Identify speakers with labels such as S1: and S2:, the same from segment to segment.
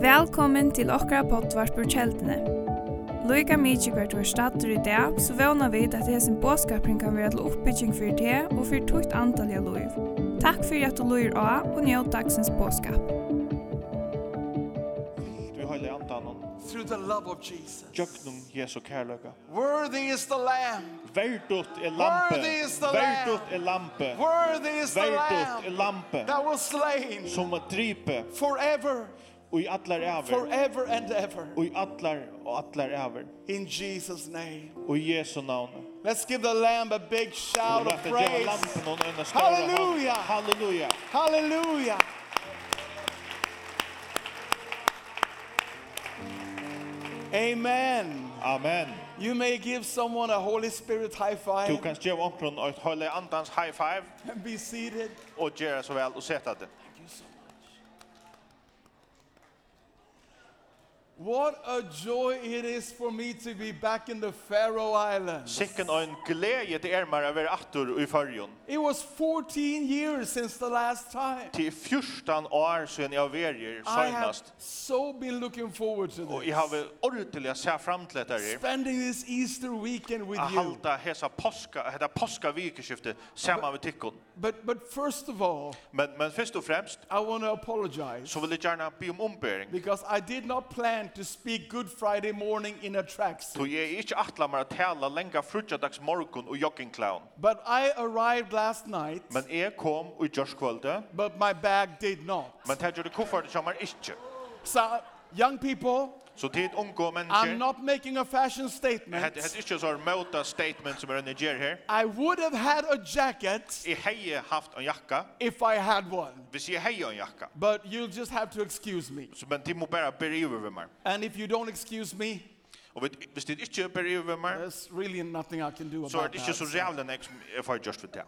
S1: Velkommen til okkara poddvarp ur kjeldene. Loika mykje hvert du er stater i dag, så vana vi at hesen båskapring kan være til oppbygging for det og for tukt antalliga loiv. Takk fyrir at du loir av og njød dagsens båskap.
S2: Du heilig andan og
S3: through the love of Jesus.
S2: jøknum Jesu kærløyga.
S3: Worthy is the Lamb.
S2: Verdut er lampe.
S3: Worthy is the
S2: Verdut er lampe.
S3: Worthy is the
S2: Verdut er
S3: Lamb
S2: lampe.
S3: that was slain
S2: Som at dripe
S3: forever,
S2: og i allar æver.
S3: forever and ever.
S2: Og i allar og allar æver.
S3: In Jesus' name.
S2: Og i Jesu navn.
S3: Let's give the Lamb a big
S2: Og
S3: shout
S2: lagt
S3: of
S2: at gjøre
S3: praise.
S2: lampen og øyne større hånd.
S3: Halleluja!
S2: Halleluja!
S3: Hallelujah. Amen.
S2: Amen.
S3: You may give someone a Holy Spirit high
S2: Du
S3: five
S2: kan gjøre omkron og heilig andans high five
S3: and be seated.
S2: og gjøre så vel og sette det.
S3: What a joy it is for me to be back in the Faroe Islands.
S2: Sikken og en glede til er mer å være atter i fyrjon.
S3: It was 14 years since the last time.
S2: Til 14 år siden jeg var er, her
S3: I have
S2: søgnast.
S3: so been looking forward to
S2: Og
S3: this.
S2: jeg har ordentlig å se frem til dette her.
S3: Spending this Easter weekend with
S2: At
S3: you.
S2: halda hesa påska, hetta påska vikeskiftet saman med tikkun.
S3: But but first of all,
S2: Men, men først og fremst,
S3: I want to apologize
S2: så vil jeg gjerne be om ombering.
S3: because I did not plan to speak Good Friday morning in a tracksuit.
S2: Så jeg er ikke atla meg å tala lenga frutjadags morgun og joggingklaun.
S3: But I arrived last night,
S2: Men jeg kom og gjørskvalde,
S3: but my bag did not.
S2: men det gjør det koffertet som er ikke.
S3: So uh, young people,
S2: Så tid unge
S3: I'm
S2: mennesker,
S3: not making a fashion statement.
S2: hette het ikke så møta statement som er en niger her.
S3: I would have had a jacket
S2: Jeg hei haft en jakka,
S3: if I had one,
S2: hvis jeg hei en jakka.
S3: but you'll just have to excuse me.
S2: Så men de må bare beri over ved meg.
S3: And if you don't excuse me,
S2: Og vet- hvis de ikke beri over meg,
S3: there's really nothing I can do
S2: så er
S3: about
S2: det ikke så
S3: that.
S2: jævlig nek som jeg får gjørst ved det.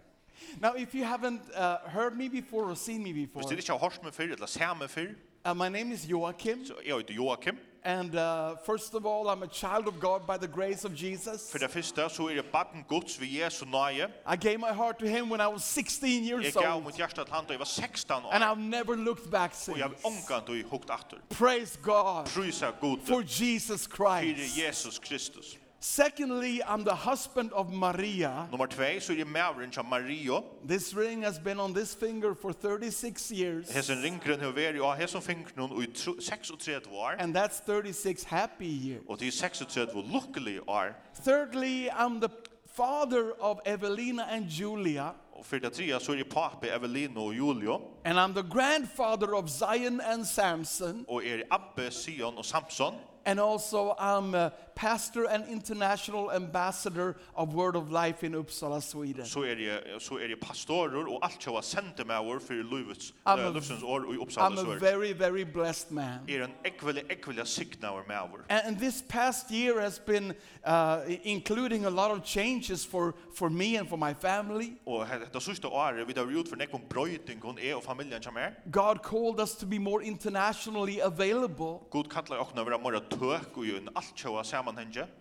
S3: Now, if you haven't uh, heard me before or seen me before,
S2: Hvis det ikke er har hørt meg før, eller ser meg før,
S3: uh, my name is Joachim,
S2: så er jeg heter Joakim.
S3: and uh, first of all, I'm a child of God by the grace of Jesus.
S2: For det første så er jeg baden gods ved Jesu nøye.
S3: I gave my heart to Him when I was 16
S2: Jeg
S3: years
S2: gav
S3: old,
S2: mot hjertet til han da jeg var 16
S3: and
S2: år.
S3: I've never looked back
S2: Og
S3: since.
S2: jeg har omgant og hukt atter.
S3: Praise God
S2: Prysa god
S3: for Jesus
S2: fyrir
S3: Christ.
S2: Jesus Kristus.
S3: Secondly, I'm the husband of Maria.
S2: Nummer 2 så er jeg mævren som Mario.
S3: This ring has been on this finger for 36 years.
S2: Hesen ringren har vært, og hesen fink noen i tru- 36 år.
S3: And that's 36 happy years.
S2: Og til 36 lukkelige år.
S3: Thirdly, I'm the father of Evelina and Julia.
S2: Og for det tredje så er jeg pape Evelino og Julio.
S3: And I'm the grandfather of Zion and Samson.
S2: Og er Abbe, Sion og Samson.
S3: And also, I'm a pastor and international ambassador of Word of Life in Uppsala, Sweden.
S2: så er jeg så er jeg pastorer og alt jeg var sendt med år for Løvets
S3: I'm a-
S2: Løvsens år og i Uppsala
S3: I'm a
S2: så
S3: very, very blessed man.
S2: er en ekvile ekvile signa år med år.
S3: And and this past year has been uh, i- including a lot of changes for, for me and for my family.
S2: Og he- hetta sista året vi har gjort for nekkom brøyting hon er og familjen som er.
S3: God called us to be more internationally available,
S2: Gud kallar okna vera mora tøk og en alt jeg var sammenhenge.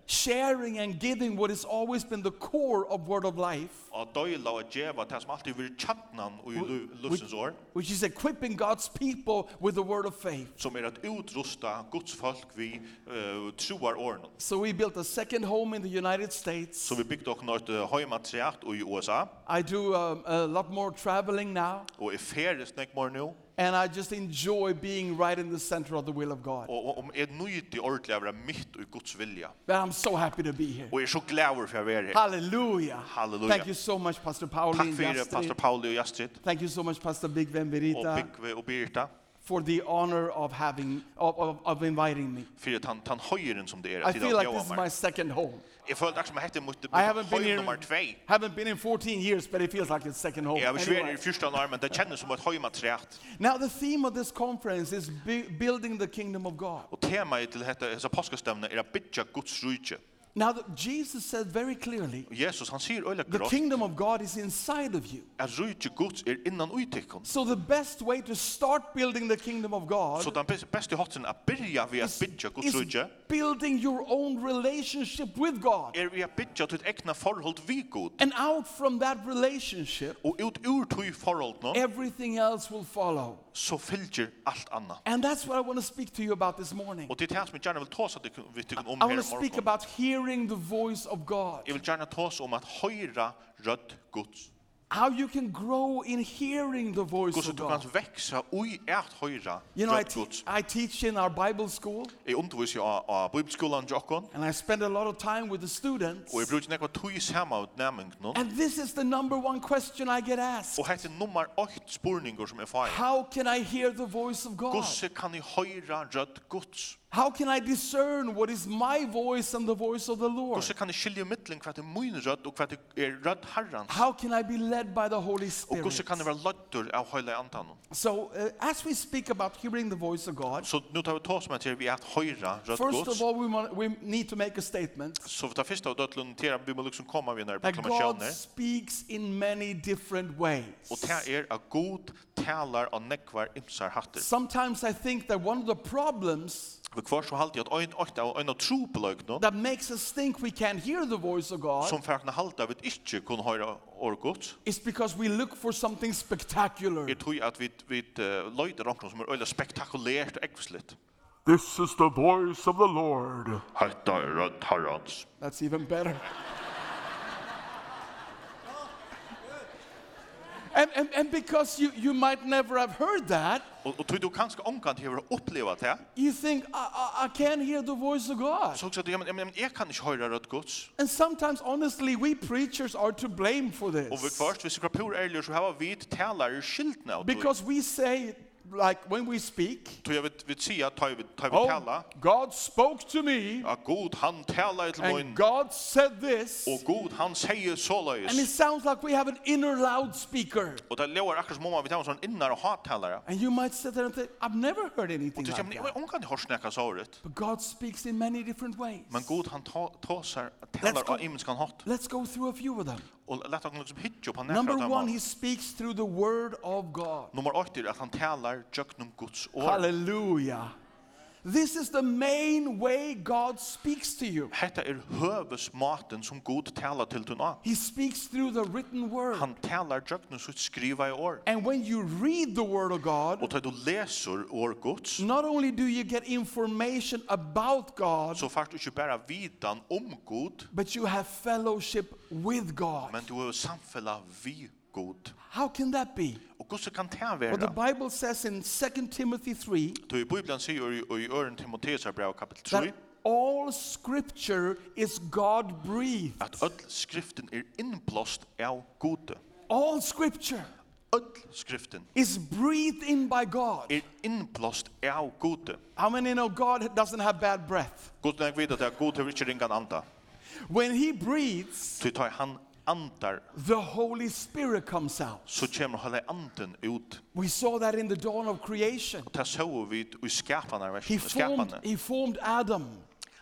S3: sharing and giving what has always been the core of Word of Life,
S2: Og døyla og djeva det som alltid vil tjantnan og i Løvsens år.
S3: which is equipping God's people with the word of faith.
S2: Som er at utrusta Guds folk vi uh, troar åren.
S3: So we built a second home in the United States.
S2: Så vi byggde okna et uh, heimatreakt i USA.
S3: I do um, a lot more traveling now,
S2: Og er ferdig snekmår nå.
S3: and I just enjoy being right in the center of the will of God.
S2: Og og- om er nøyti ordentlig å være mitt i Guds vilja.
S3: But I'm so happy to be here.
S2: Og jeg er så glad for å være her.
S3: Hallelujah.
S2: Hallelujah.
S3: Thank you so much, Pastor Pauline.
S2: Takk for
S3: Jastrid.
S2: Pastor Oh, Pauli og Jastrid,
S3: Thank you so much, Pastor Big Ben
S2: og
S3: Verita,
S2: Bygve og Birta,
S3: for the honor of having of, of, of inviting me.
S2: for at han, han høyeren som det er.
S3: I
S2: til
S3: feel
S2: at
S3: like
S2: bjóða
S3: this is
S2: mér.
S3: my second home.
S2: Jeg føler akkurat som jeg hette mot
S3: I haven't been
S2: høy
S3: here,
S2: er nummer 2.
S3: haven't been in 14 years, but it feels like it's second home.
S2: Jeg har
S3: Anyway.
S2: svært i første år, men det kjennes som et høymatreakt.
S3: Now, the theme of this conference is bu- building the kingdom of God.
S2: Og temaet til dette, disse påskestevnet er å bygge Guds rydtje.
S3: Now, the, Jesus said very clearly,
S2: Og Jesus, han sier øyla
S3: the
S2: grått
S3: kingdom of God is inside of you.
S2: at rujtje Guds er innan uittikken.
S3: So the best way to start building the kingdom of God
S2: Så den bes- beste hotsen er byrja ved at bygja Guds
S3: is
S2: rujtje,
S3: building your own relationship with God.
S2: er ved at bygja til et egna forhold vi Gud.
S3: And out from that relationship,
S2: Og ut ur tui forhold
S3: Eh.
S2: nå,
S3: everything else will follow.
S2: så fylgjer alt anna.
S3: And that's what I want to speak to you about this morning.
S2: Og det er det som jeg gjerne vil tåsa til vi tykken om
S3: I
S2: um her
S3: want
S2: i
S3: to speak
S2: morgen.
S3: about hearing the voice of God.
S2: Jeg vil gjerne tåsa om at høyra rødt Guds.
S3: How you can grow in hearing the voice
S2: Guds,
S3: of
S2: du
S3: God.
S2: kan veksa ui eit høyra
S3: You know, I,
S2: rødt
S3: te-
S2: Guds.
S3: I teach in our Bible school,
S2: Jeg underviser av, av bibelskolan jokkon,
S3: and I spend a lot of time with the students.
S2: og jeg bruker nekva tui sama ut nemming nå.
S3: And this is the number one question I get asked.
S2: Og hette nummer 8 spurningur som er fair.
S3: How can I hear the voice of God?
S2: Gusse kan i høyra rødt Guds.
S3: How can I discern what is my voice and the voice of the Lord?
S2: Hvordan kan jeg skilje mittlen hva det er min rødt og hva det er rødt herrens?
S3: How can I be led by the Holy
S2: Og
S3: Spirit?
S2: hvordan kan er jeg være lødder av høyla i antan?
S3: So, uh, as we speak about hearing the voice of God,
S2: Så nå tar vi tås med til vi er høyra rødt
S3: first
S2: gods.
S3: of all, we, want, we need to make a statement
S2: Så vi tar først av dødlund til at vi må liksom komme av denne
S3: that God
S2: proklamasjoner.
S3: speaks in many different
S2: Og
S3: ways.
S2: det er at god talar og nekvar imsar hatter.
S3: Sometimes I think that one of the problems
S2: Vi kvar så halte jeg at øyn øyne og øyn og tro på løgn nå,
S3: that makes us think we can't hear the voice of God
S2: som færkene halte av at ikke kun høyra år gods,
S3: is because we look for something spectacular.
S2: er tog at vi, vi uh, løyder omkring som er øyla spektakulært og ekvislitt.
S4: This is the voice of the Lord.
S2: Hetta er rødt herrens.
S3: That's even better. And, and, and because you, you might never have heard that,
S2: Og, og tog du kanskje omkant hever oppleva det,
S3: you think, I, I, I can't hear the voice of God.
S2: Så hugsa du, ja, men, ja, men jeg kan ikke høre rødt gods.
S3: And sometimes, honestly, we preachers are to blame for
S2: Og vi
S3: this.
S2: kvart, hvis vi er pur ærlige, så har vi talare skiltene av det.
S3: Because we say, like when we speak,
S2: Så jeg vil, vil si at tar vi, tar vi tala,
S3: oh, God spoke to me,
S2: at god han talar til
S3: and
S2: mun,
S3: God said this.
S2: og god han sier
S3: And it
S2: såleis.
S3: sounds like we have an inner loudspeaker.
S2: Og det lever akkurat som om vi tar en sånn innar og hattalare.
S3: And you might sit there and think, I've never heard anything
S2: Du sier,
S3: like
S2: men
S3: that.
S2: jeg omkant har snakka såret.
S3: But God speaks in many different ways.
S2: Men god han ta- tåsar,
S3: Let's
S2: talar
S3: go.
S2: av imenskan hatt.
S3: Let's go through a few of them.
S2: Og lett han liksom hitjo på nekra
S3: Number
S2: av dem.
S3: one, he speaks through the word of God.
S2: Nummer 8 er at han talar jöknum Guds år.
S3: Hallelujah. This is the main way God speaks to you.
S2: Hetta er høvesmaten som god talar til tunna.
S3: He speaks through the written word.
S2: Han talar jöknum sitt skriva i år.
S3: And when you read the word of
S2: Og
S3: God,
S2: tar du leser år Guds,
S3: not only do you get information about God,
S2: så fært du ikke bare vitan om Gud,
S3: but you have fellowship with God.
S2: men du er har samfella vi Gud.
S3: How can that be?
S2: Og hvordan kan det
S3: What the
S2: være?
S3: Bible says in 2 Timothy 3
S2: Du i Bibelen sier i, i øren Timotheus her brev kapitel 3,
S3: that all scripture is God breathed.
S2: at öll skriften er innblåst av Gud.
S3: All scripture
S2: Öll skriften
S3: is breathed in by God.
S2: er innblåst av Gud.
S3: How many know God doesn't have bad breath?
S2: Gud nek vet at det er Gud har ikke ringan anda.
S3: When He breathes,
S2: Så tar han andar,
S3: the Holy Spirit comes out.
S2: så kommer hele anden ut.
S3: We saw that in the dawn of creation.
S2: Og det så vi i skapene,
S3: He formed,
S2: skapene.
S3: he formed Adam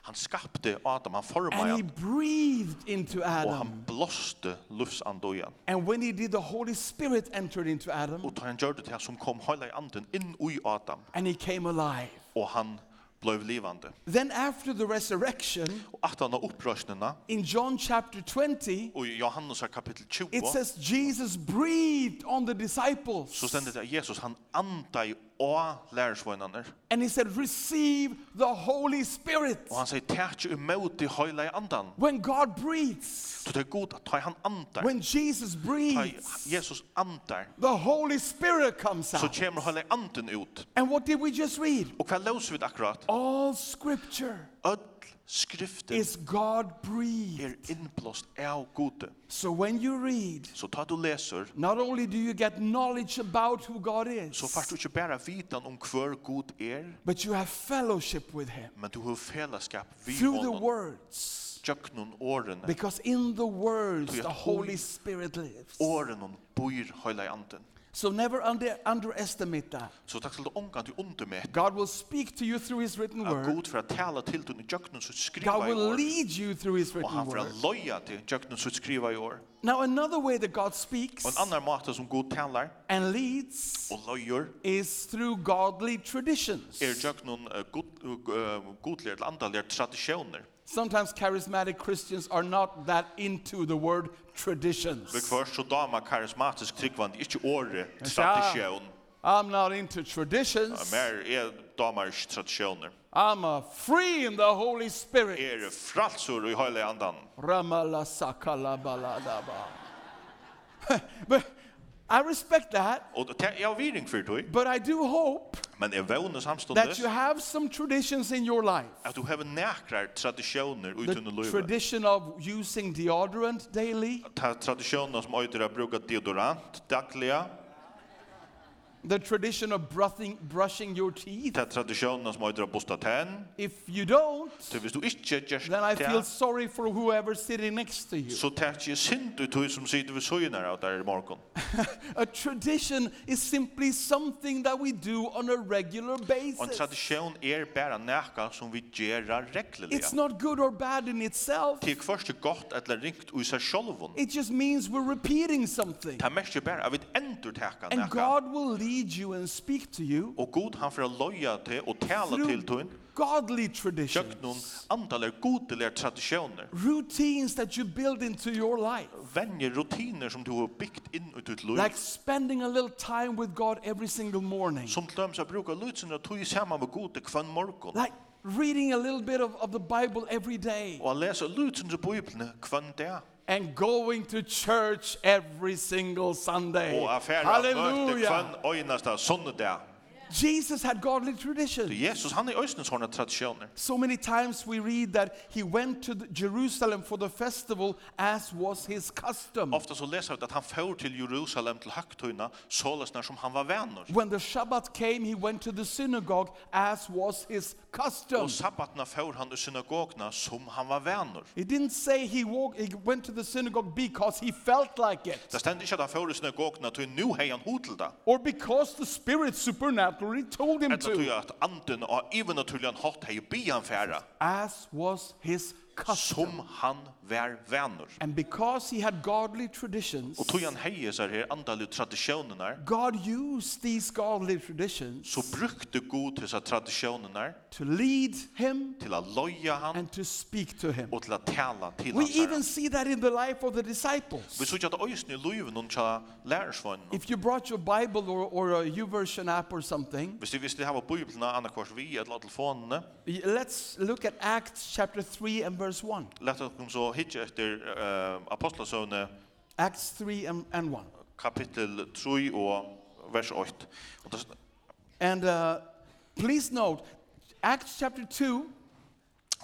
S2: Han skapte Adam, han formade
S3: and
S2: han.
S3: He breathed into
S2: og han
S3: Adam.
S2: blåste lufsandojan.
S3: And when He did, the Holy Spirit entered into Adam
S2: Og tar han gjør det til som kom hele anden inn i Adam,
S3: and He came alive.
S2: og han blev livande.
S3: Then, after the resurrection,
S2: Og at han av opprørsnena,
S3: in John chapter 20,
S2: og i Johannes her kapittel
S3: it
S2: 20,
S3: says Jesus breathed on the disciples.
S2: så stendet det at Jesus, han anda i å lærersvøgnene,
S3: And he said, Receive the Holy Spirit.
S2: og han sier, tæt jo imot i høyla i andan.
S3: When God breathes,
S2: Så det er god at tar han andar,
S3: when Jesus
S2: tar
S3: breathes,
S2: Jesus andar,
S3: the Holy Spirit comes
S2: så
S3: out.
S2: kommer høyla i anden ut.
S3: And what did we just read?
S2: Og hva løs vi det akkurat?
S3: All scripture
S2: Öll skriften
S3: is God breathed.
S2: er innblåst av gode.
S3: So when you read,
S2: Så tar du leser,
S3: not only do you get knowledge about who God
S2: så fært
S3: is,
S2: du ikke bare vitan om hver god er,
S3: but you have fellowship with Him
S2: men du har fellesskap vi
S3: through the
S2: honom,
S3: words.
S2: tjøknen årene,
S3: Because in the words, the Holy Spirit lives.
S2: årene bor høyla i anden.
S3: So never under, underestimate that.
S2: Så takk skal du omgang til undermett.
S3: God will speak to you through his written
S2: At
S3: word.
S2: god for at tala til du i jøknen som skriva
S3: God
S2: i
S3: will
S2: år.
S3: lead you through his
S2: Og
S3: written
S2: han for
S3: word.
S2: at loja til jøknen som skriva i år.
S3: Now, another way that God speaks
S2: Og en annan måte som god talar
S3: and leads
S2: og lojer
S3: is through godly traditions.
S2: er jøknen uh, god, uh, godlige eller andalige tradisjoner.
S3: Sometimes charismatic Christians are not that into the word
S2: Vi
S3: traditions.
S2: kvar så dama karismatisk tryggvand, ikke åre tradisjon.
S3: Tja, I'm not into traditions.
S2: Mer er damar ikke tradisjoner.
S3: I'm a free in the Holy Spirit.
S2: Er fralsor i høyla andan.
S3: Ramala sakala baladaba. But I respect that,
S2: Og det er jeg viring for tog,
S3: but I do hope
S2: men jeg vevner
S3: that
S2: samståndes
S3: you have some traditions in your life.
S2: at du har nekrar tradisjoner
S3: The
S2: uten å løyve.
S3: tradition of using deodorant daily,
S2: Ta tradisjoner som øyder å bruke deodorant dagliga,
S3: the tradition of brushing, brushing your teeth.
S2: ta tradisjoner som øyder å bosta tenn,
S3: If you don't,
S2: så hvis du ikke gjørs
S3: then I feel
S2: det,
S3: sorry for whoever's sitting next to you.
S2: så tar jeg sint ut tog som sitter ved søgner av der i morgen.
S3: A tradition is simply something that we do on a regular
S2: Og en
S3: basis.
S2: tradisjon er bare nekka som vi gjør regleliga.
S3: It's not good or bad in itself.
S2: Det er først godt eller ringt i seg sjolvun.
S3: It just means we're repeating something.
S2: Det mest er bare at vi endur teka
S3: And
S2: nekka.
S3: God will lead you and speak to you
S2: Og god han fyrir loja til og tala
S3: through
S2: til um tøyn,
S3: godly traditions,
S2: tjøknun andaler godelige tradisjoner,
S3: routines that you build into your life,
S2: venjer rutiner som du har byggt inn ut ut løy,
S3: like spending a little time with God every single morning,
S2: som til dømes å bruka løytsen og tøy saman med gode kvann morgon,
S3: like reading a little bit of, of the Bible every day,
S2: og å lesa løytsen til bøyblene kvann dag,
S3: and going to church every single Sunday.
S2: og affæra møte
S3: Hallelujah!
S2: kvann øynasta sånne dag.
S3: Jesus had godly traditions.
S2: Så Jesus, han er øysnes sånne tradisjoner.
S3: So many times we read that he went to the- Jerusalem for the festival as was his custom.
S2: Ofta så leser vi at han får til Jerusalem til høgtøyna, sålesnar som han var venner.
S3: When the Shabbat came, he went to the synagogue as was his custom.
S2: Og sabbatna får han i synagogna som han var venner.
S3: He didn't say he, walked, he went to the synagogue because he felt like it
S2: Det stender ikke at han får i synagogna til nu hei han hod til det.
S3: or because the Spirit supernaturally told him
S2: Etter tog
S3: to,
S2: at anden og even naturlig han hatt hei bi han færa,
S3: as was his custom.
S2: som han var venner.
S3: And because he had godly traditions,
S2: Og tog han hei seg her andalig tradisjonerna,
S3: God used these godly traditions
S2: så brukte god til seg tradisjonerna
S3: to lead him
S2: til å loja han
S3: and to speak to him.
S2: og til å tala til
S3: We
S2: hans
S3: even
S2: herre.
S3: see that in the life of the
S2: Vi
S3: disciples.
S2: så ikke at øysen i luven og tja lærersvannen.
S3: If you brought your Bible or, or a YouVersion app or something,
S2: Hvis du visste det her var bøyblene, anna kvart vi, eller telefonene,
S3: y- let's look at Acts chapter 3 and verse 1.
S2: lett at hun så hitje etter uh, Apostlasøvne,
S3: Acts 3 and, and 1.
S2: kapittel 3 og vers 8. Og det,
S3: And uh, please note, Acts chapter 2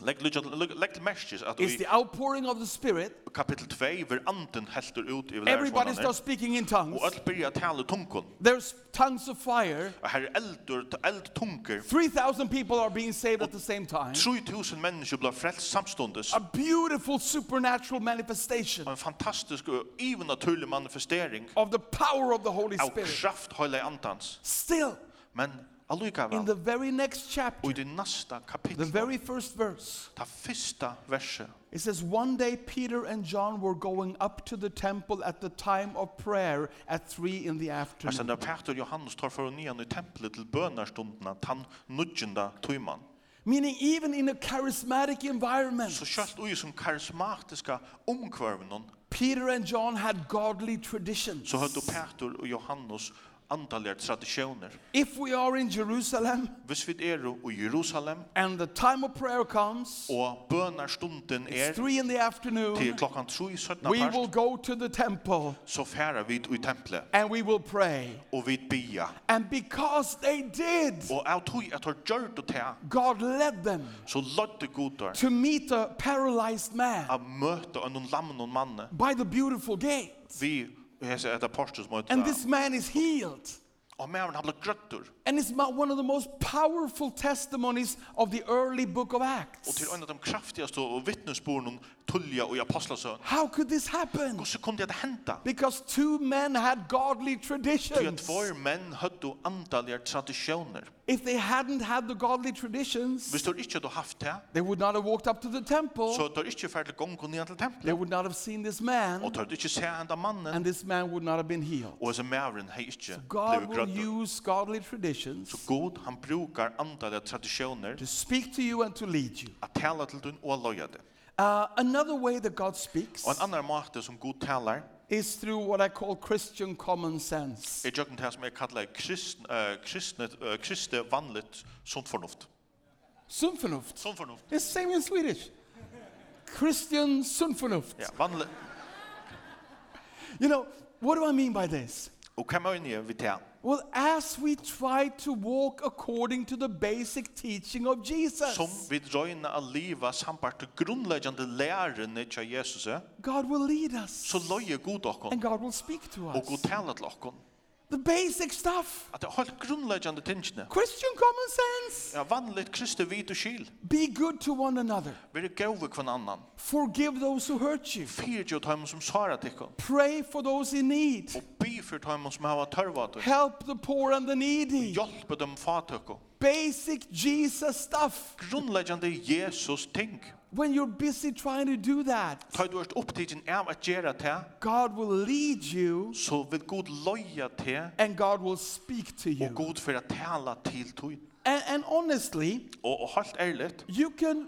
S2: legg, legg, legg, legg til merkes at
S3: is
S2: i
S3: the outpouring of the Spirit.
S2: kapittel 2 ver anden helter ut i
S3: Everybody starts
S2: lærersvannene,
S3: speaking in tongues.
S2: og alt byrja tale tungen.
S3: There's tongues of fire.
S2: Og her er eldur, eldtunker,
S3: 3,000 people are being saved at the same time.
S2: 3000 mennesker blir frelst samstundes.
S3: A beautiful supernatural manifestation
S2: Og en fantastisk og even naturlig manifestering
S3: of the power of the Holy
S2: av
S3: Spirit.
S2: kraft høyla andans.
S3: Still,
S2: Men
S3: in
S2: allikevel,
S3: the very next chapter,
S2: og i det nasta
S3: The
S2: kapitlet,
S3: very first verse,
S2: Ta fyrsta verset.
S3: it says, One day Peter and John were going up to the temple at the time of prayer at three in the
S2: Her
S3: afternoon.
S2: stender Peter Johannes tar for nian i tempelet til bønarstundene, tann nudgjenda tøyman.
S3: Meaning, even in a charismatic environment,
S2: Så kjølt ui som karismatiska omkvarvnen,
S3: Peter and John had godly traditions.
S2: så høyde Peter og Johannes andalige tradisjoner.
S3: If we are in Jerusalem
S2: Hvis vi er i Jerusalem,
S3: and the time of prayer comes,
S2: og bønarstunden
S3: it's
S2: er
S3: three in the
S2: til
S3: afternoon,
S2: klokkan 3 17
S3: we will
S2: part,
S3: go to the temple
S2: så færa vi i tempelet,
S3: and we will pray.
S2: og vi bia.
S3: And because they did,
S2: Og av tøy at har gjørt det til,
S3: God led them
S2: så lødde godar
S3: to meet a paralyzed man
S2: av møte en lamn og manne.
S3: by the beautiful gate.
S2: Vi hesa et apostel som
S3: And
S2: heter
S3: this man is healed.
S2: Og mæren han ble grøttur.
S3: And it's mo- one of the most powerful testimonies of the early book of
S2: Og
S3: Acts.
S2: til en av de kraftigaste og vittnesborene tulja og i apostlasøn.
S3: How could this happen?
S2: Hvordan kom det at henta?
S3: Because two men had
S2: Tog
S3: godly
S2: at
S3: traditions.
S2: tvær menn høttu andaligar tradisjoner.
S3: If they hadn't had the godly traditions,
S2: Hvis du ikke hadde haft det,
S3: they would not have walked up to the
S2: så
S3: temple.
S2: hadde du ikke ferdig gongen igjen til tempelet.
S3: They would not have seen this
S2: Og
S3: man,
S2: du hadde ikke se henda mannen.
S3: and this man would not have been healed.
S2: Og så mævren hei ikke
S3: God
S2: blivit
S3: will
S2: grøttet.
S3: use godly traditions
S2: Så god, han brukar andaligar tradisjoner
S3: to speak to you and to lead you.
S2: at tala til dun og loja det.
S3: Uh, another way that God speaks
S2: Og en annan måte som god talar
S3: is through what I call Christian common sense.
S2: er jøkken til som jeg kallar kristne, uh, kristne, uh, kristne vanligt sunt fornuft.
S3: Sundförnuft.
S2: Sunt fornuft.
S3: It's same in Swedish. Christian sundförnuft.
S2: Ja, vanligt.
S3: You know, what do I mean by this?
S2: Og hva må jeg vi til?
S3: Well, as we try to walk according to the basic teaching of Jesus,
S2: Som vi drøyna av livet sambart til grunnleggjande lærerne til Jesus, eh,
S3: God will lead us
S2: så løye god okkon
S3: and God will speak to us.
S2: og god tala til okkon.
S3: The basic stuff.
S2: At det er helt grunnleggjande tingene.
S3: Christian common sense.
S2: Ja, vanligt kristne vid og skil.
S3: Be good to one another.
S2: Vi er gøy kvann annan.
S3: Forgive those who hurt you.
S2: Fyrt jo tøymen som svarer til okkon.
S3: Pray for those in need.
S2: Og by for tøymen som hava tørva til.
S3: Help the poor and the needy.
S2: Hjelpe dem fatøkken.
S3: Basic Jesus stuff.
S2: Grunnleggjande Jesus ting.
S3: When you're busy trying to do that,
S2: Ta du ert opptidgen av at gjøre det,
S3: God will lead you
S2: så vil Gud løye til,
S3: and God will speak to
S2: og
S3: you.
S2: Gud for å tale til tog.
S3: And, and honestly,
S2: Og, og helt ærligt,
S3: you can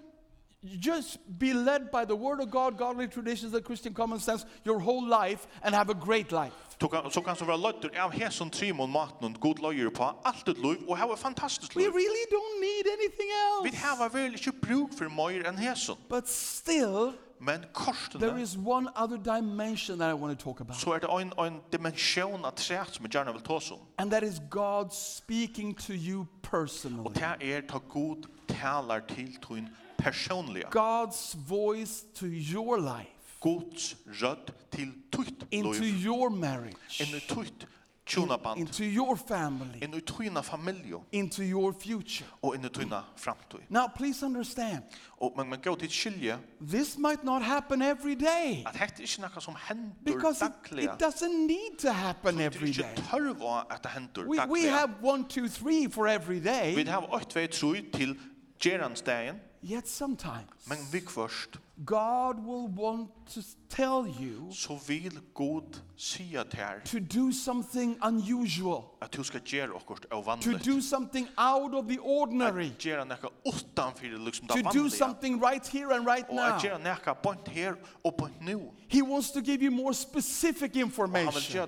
S3: just be led by the Word of God, godly traditions, and Christian common sense your whole life and have a great life.
S2: du kan, så kan du være løyter av hesen trimon maten og Gud løyer på alt ditt liv, og ha et fantastisk
S3: We
S2: liv.
S3: really don't need anything else.
S2: Vi har vel ikke bruk for mer enn hesen,
S3: But still,
S2: men
S3: there
S2: korsene,
S3: is one other dimension that I want to talk about,
S2: så er det en, en dimensjon av træt som jeg gjerne vil um. ta oss om.
S3: and that is God speaking to you
S2: Og
S3: personally.
S2: det er ta god taler til tog personlige.
S3: God's voice to your life,
S2: Guds rødt til tøyt
S3: into
S2: liv,
S3: your marriage,
S2: inn i tøyt tjonaband,
S3: into your family,
S2: inn i tøyna familie,
S3: into your future.
S2: og inn i tøyna framtøy.
S3: Now, please understand,
S2: Og men man går til skilje
S3: this might not happen every day
S2: at hette ikke noe som hender
S3: because it,
S2: daglig.
S3: it doesn't need to happen
S2: Det er
S3: every
S2: ikke
S3: day.
S2: tørv av at det hender
S3: We, we
S2: daglig.
S3: have one, two, three for every
S2: Vi
S3: day,
S2: har 8-2 tru til gerandstegen,
S3: yet sometimes
S2: men vi først
S3: God will want to tell you
S2: så vil god sia til her
S3: to do something unusual,
S2: er at du skal gjøre okkurt av
S3: to
S2: vanligt.
S3: do something out of the ordinary,
S2: At gjøre noe utanfyr liksom det
S3: to do
S2: vanlige.
S3: something right here and right
S2: Og at
S3: now.
S2: gjøre noe point her og point nu.
S3: He wants to give you more specific
S2: Og han vil
S3: information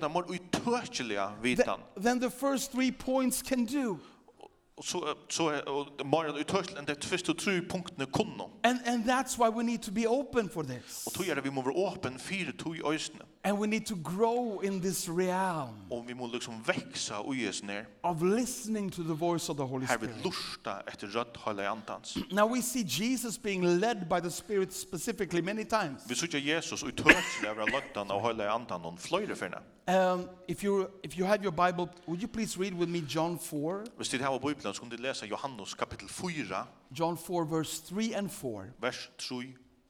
S2: gjøre det mer utøkkelige
S3: tha-
S2: vitan.
S3: than the first three points can do.
S2: Og så, så er og mer utøkkelig enn det første tru punktene kunne.
S3: And, and that's why we need to be open for this.
S2: Og tog er det vi må være åpen fire tog i øysene.
S3: And we need to grow in this realm
S2: Og vi må liksom veksa og gjøres ned.
S3: of listening to the voice of the Holy
S2: Her vil
S3: Spirit.
S2: lusta etter rødt høyla i antans.
S3: Now we see Jesus being led by the Spirit specifically many times.
S2: Vi sykja Jesus og tørsel over løgtan og høyla i antan og fløyre finne.
S3: Um, if, you, if you have your Bible, would you please read with me John 4?
S2: Hvis det her var Bibelen, så kunne de lese Johannes kapittel 4,
S3: John 4, verse 3 and 4.
S2: vers 3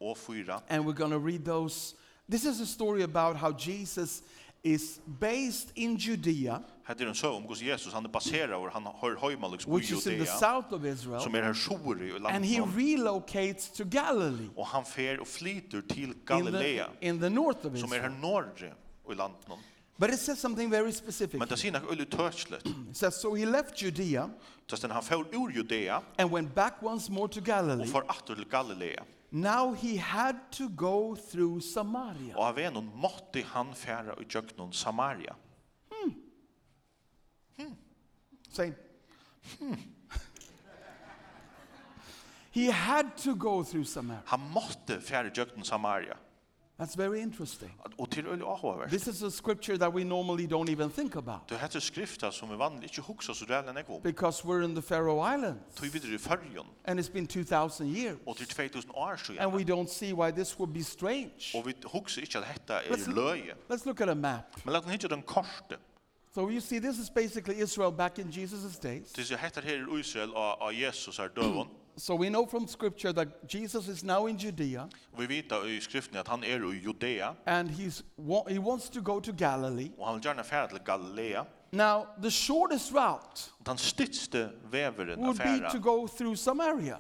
S2: og 4.
S3: And we're going to read those. This is a story about how Jesus is based in Judea,
S2: Hette er en søv om hos Jesus, han er baseret over, han høyr høyma liksom i
S3: which is in the
S2: Judea,
S3: south of Israel,
S2: som er her sår i
S3: and he
S2: landet.
S3: relocates to Galilee,
S2: Og han fer og flyter til
S3: in the,
S2: Galilea,
S3: in the north of
S2: som er
S3: Israel.
S2: her norre i landet.
S3: But it says something very specific.
S2: Men det sier nok øyla tørslet.
S3: It says, So he left Judea
S2: Så stendt han fer ur Judea
S3: and went back once more to Galilee.
S2: og fer atter til Galilea.
S3: Now he had to go through Samaria.
S2: Og av en måtte han færa i djøknon Samaria.
S3: Same. "Hmm." he had to go through Samaria.
S2: Han måtte færa i djøknon Samaria.
S3: That's very interesting.
S2: Og til øyla avhåver.
S3: This is a scripture that we normally don't even think about
S2: Det heter skrifta som vi vanlig ikke hugsa så ræl enn jeg om.
S3: because we're in the Faroe Islands
S2: Tog videre i fyrjon
S3: and it's been 2,000 years.
S2: og til 2000 år
S3: And
S2: siden.
S3: we don't see why this would be strange.
S2: Og vi hugsa ikke at dette
S3: Let's
S2: er
S3: look-
S2: løye.
S3: Let's look at a map.
S2: Men lagt ikke den korte.
S3: So you see, this is basically Israel back in Jesus' days.
S2: Det sier hette her i Israel av av Jesus er døven.
S3: So we know from scripture that Jesus is now in Judea
S2: Og vi vet i skriften at han er i Judea,
S3: and he's, wa- he wants to go to Galilee.
S2: og han vil gjerne fære til Galilea.
S3: Now, the shortest route
S2: Og den stidste veveren av
S3: would be
S2: færa
S3: to go through Samaria.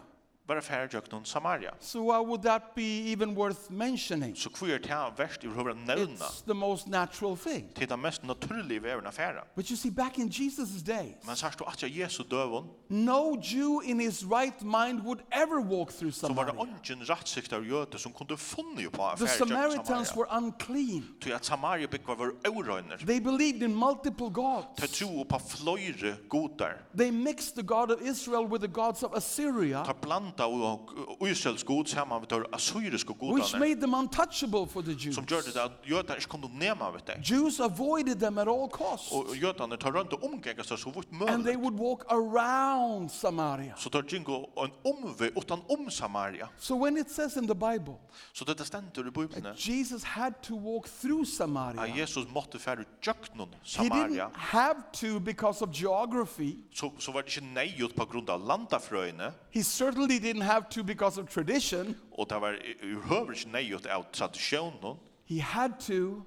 S2: var færa gjøkken Samaria.
S3: So why would that be even worth mentioning?
S2: Så hvor er det her verst i høyre nevna
S3: It's the most natural thing.
S2: til den mest naturlige veveren av færa.
S3: But you see, back in Jesus' days,
S2: Men sørst du at jeg Jesu døvun,
S3: no Jew in his right mind would ever walk through
S2: så var det
S3: Samaria.
S2: ånden rettsikter og jøte som kunne funne jo på at
S3: The
S2: færa gjøkken
S3: Samaritans
S2: Samaria.
S3: were unclean.
S2: Til at Samaria byggva var eurøyner.
S3: They believed in multiple
S2: Ta
S3: gods.
S2: tro på fløyre godar.
S3: They mixed the God of Israel with the gods of
S2: Ta
S3: Assyria,
S2: blanda og og Israels god saman við tar assyriska
S3: which
S2: godarna
S3: made them untouchable for the Jews.
S2: som gjorde det at jötar ikke kunde nema við det.
S3: Jews avoided them at all costs,
S2: Og jötarna tar rundt og omgänga sig så vitt
S3: and they
S2: möjligt.
S3: would walk around Samaria.
S2: Så tar Jingo en omve utan om Samaria.
S3: So when it says in the Bible
S2: Så detta stendur i Bibeln
S3: that Jesus had to walk through
S2: at
S3: Samaria,
S2: Jesus måtte færa jöknun
S3: he
S2: Samaria.
S3: didn't have to because of geography.
S2: Så så var det ikke nejut på grund av landafrøyne
S3: He certainly didn't have to because of tradition.
S2: og det var i- i høver ikke nejut av tradisjonen,
S3: He had to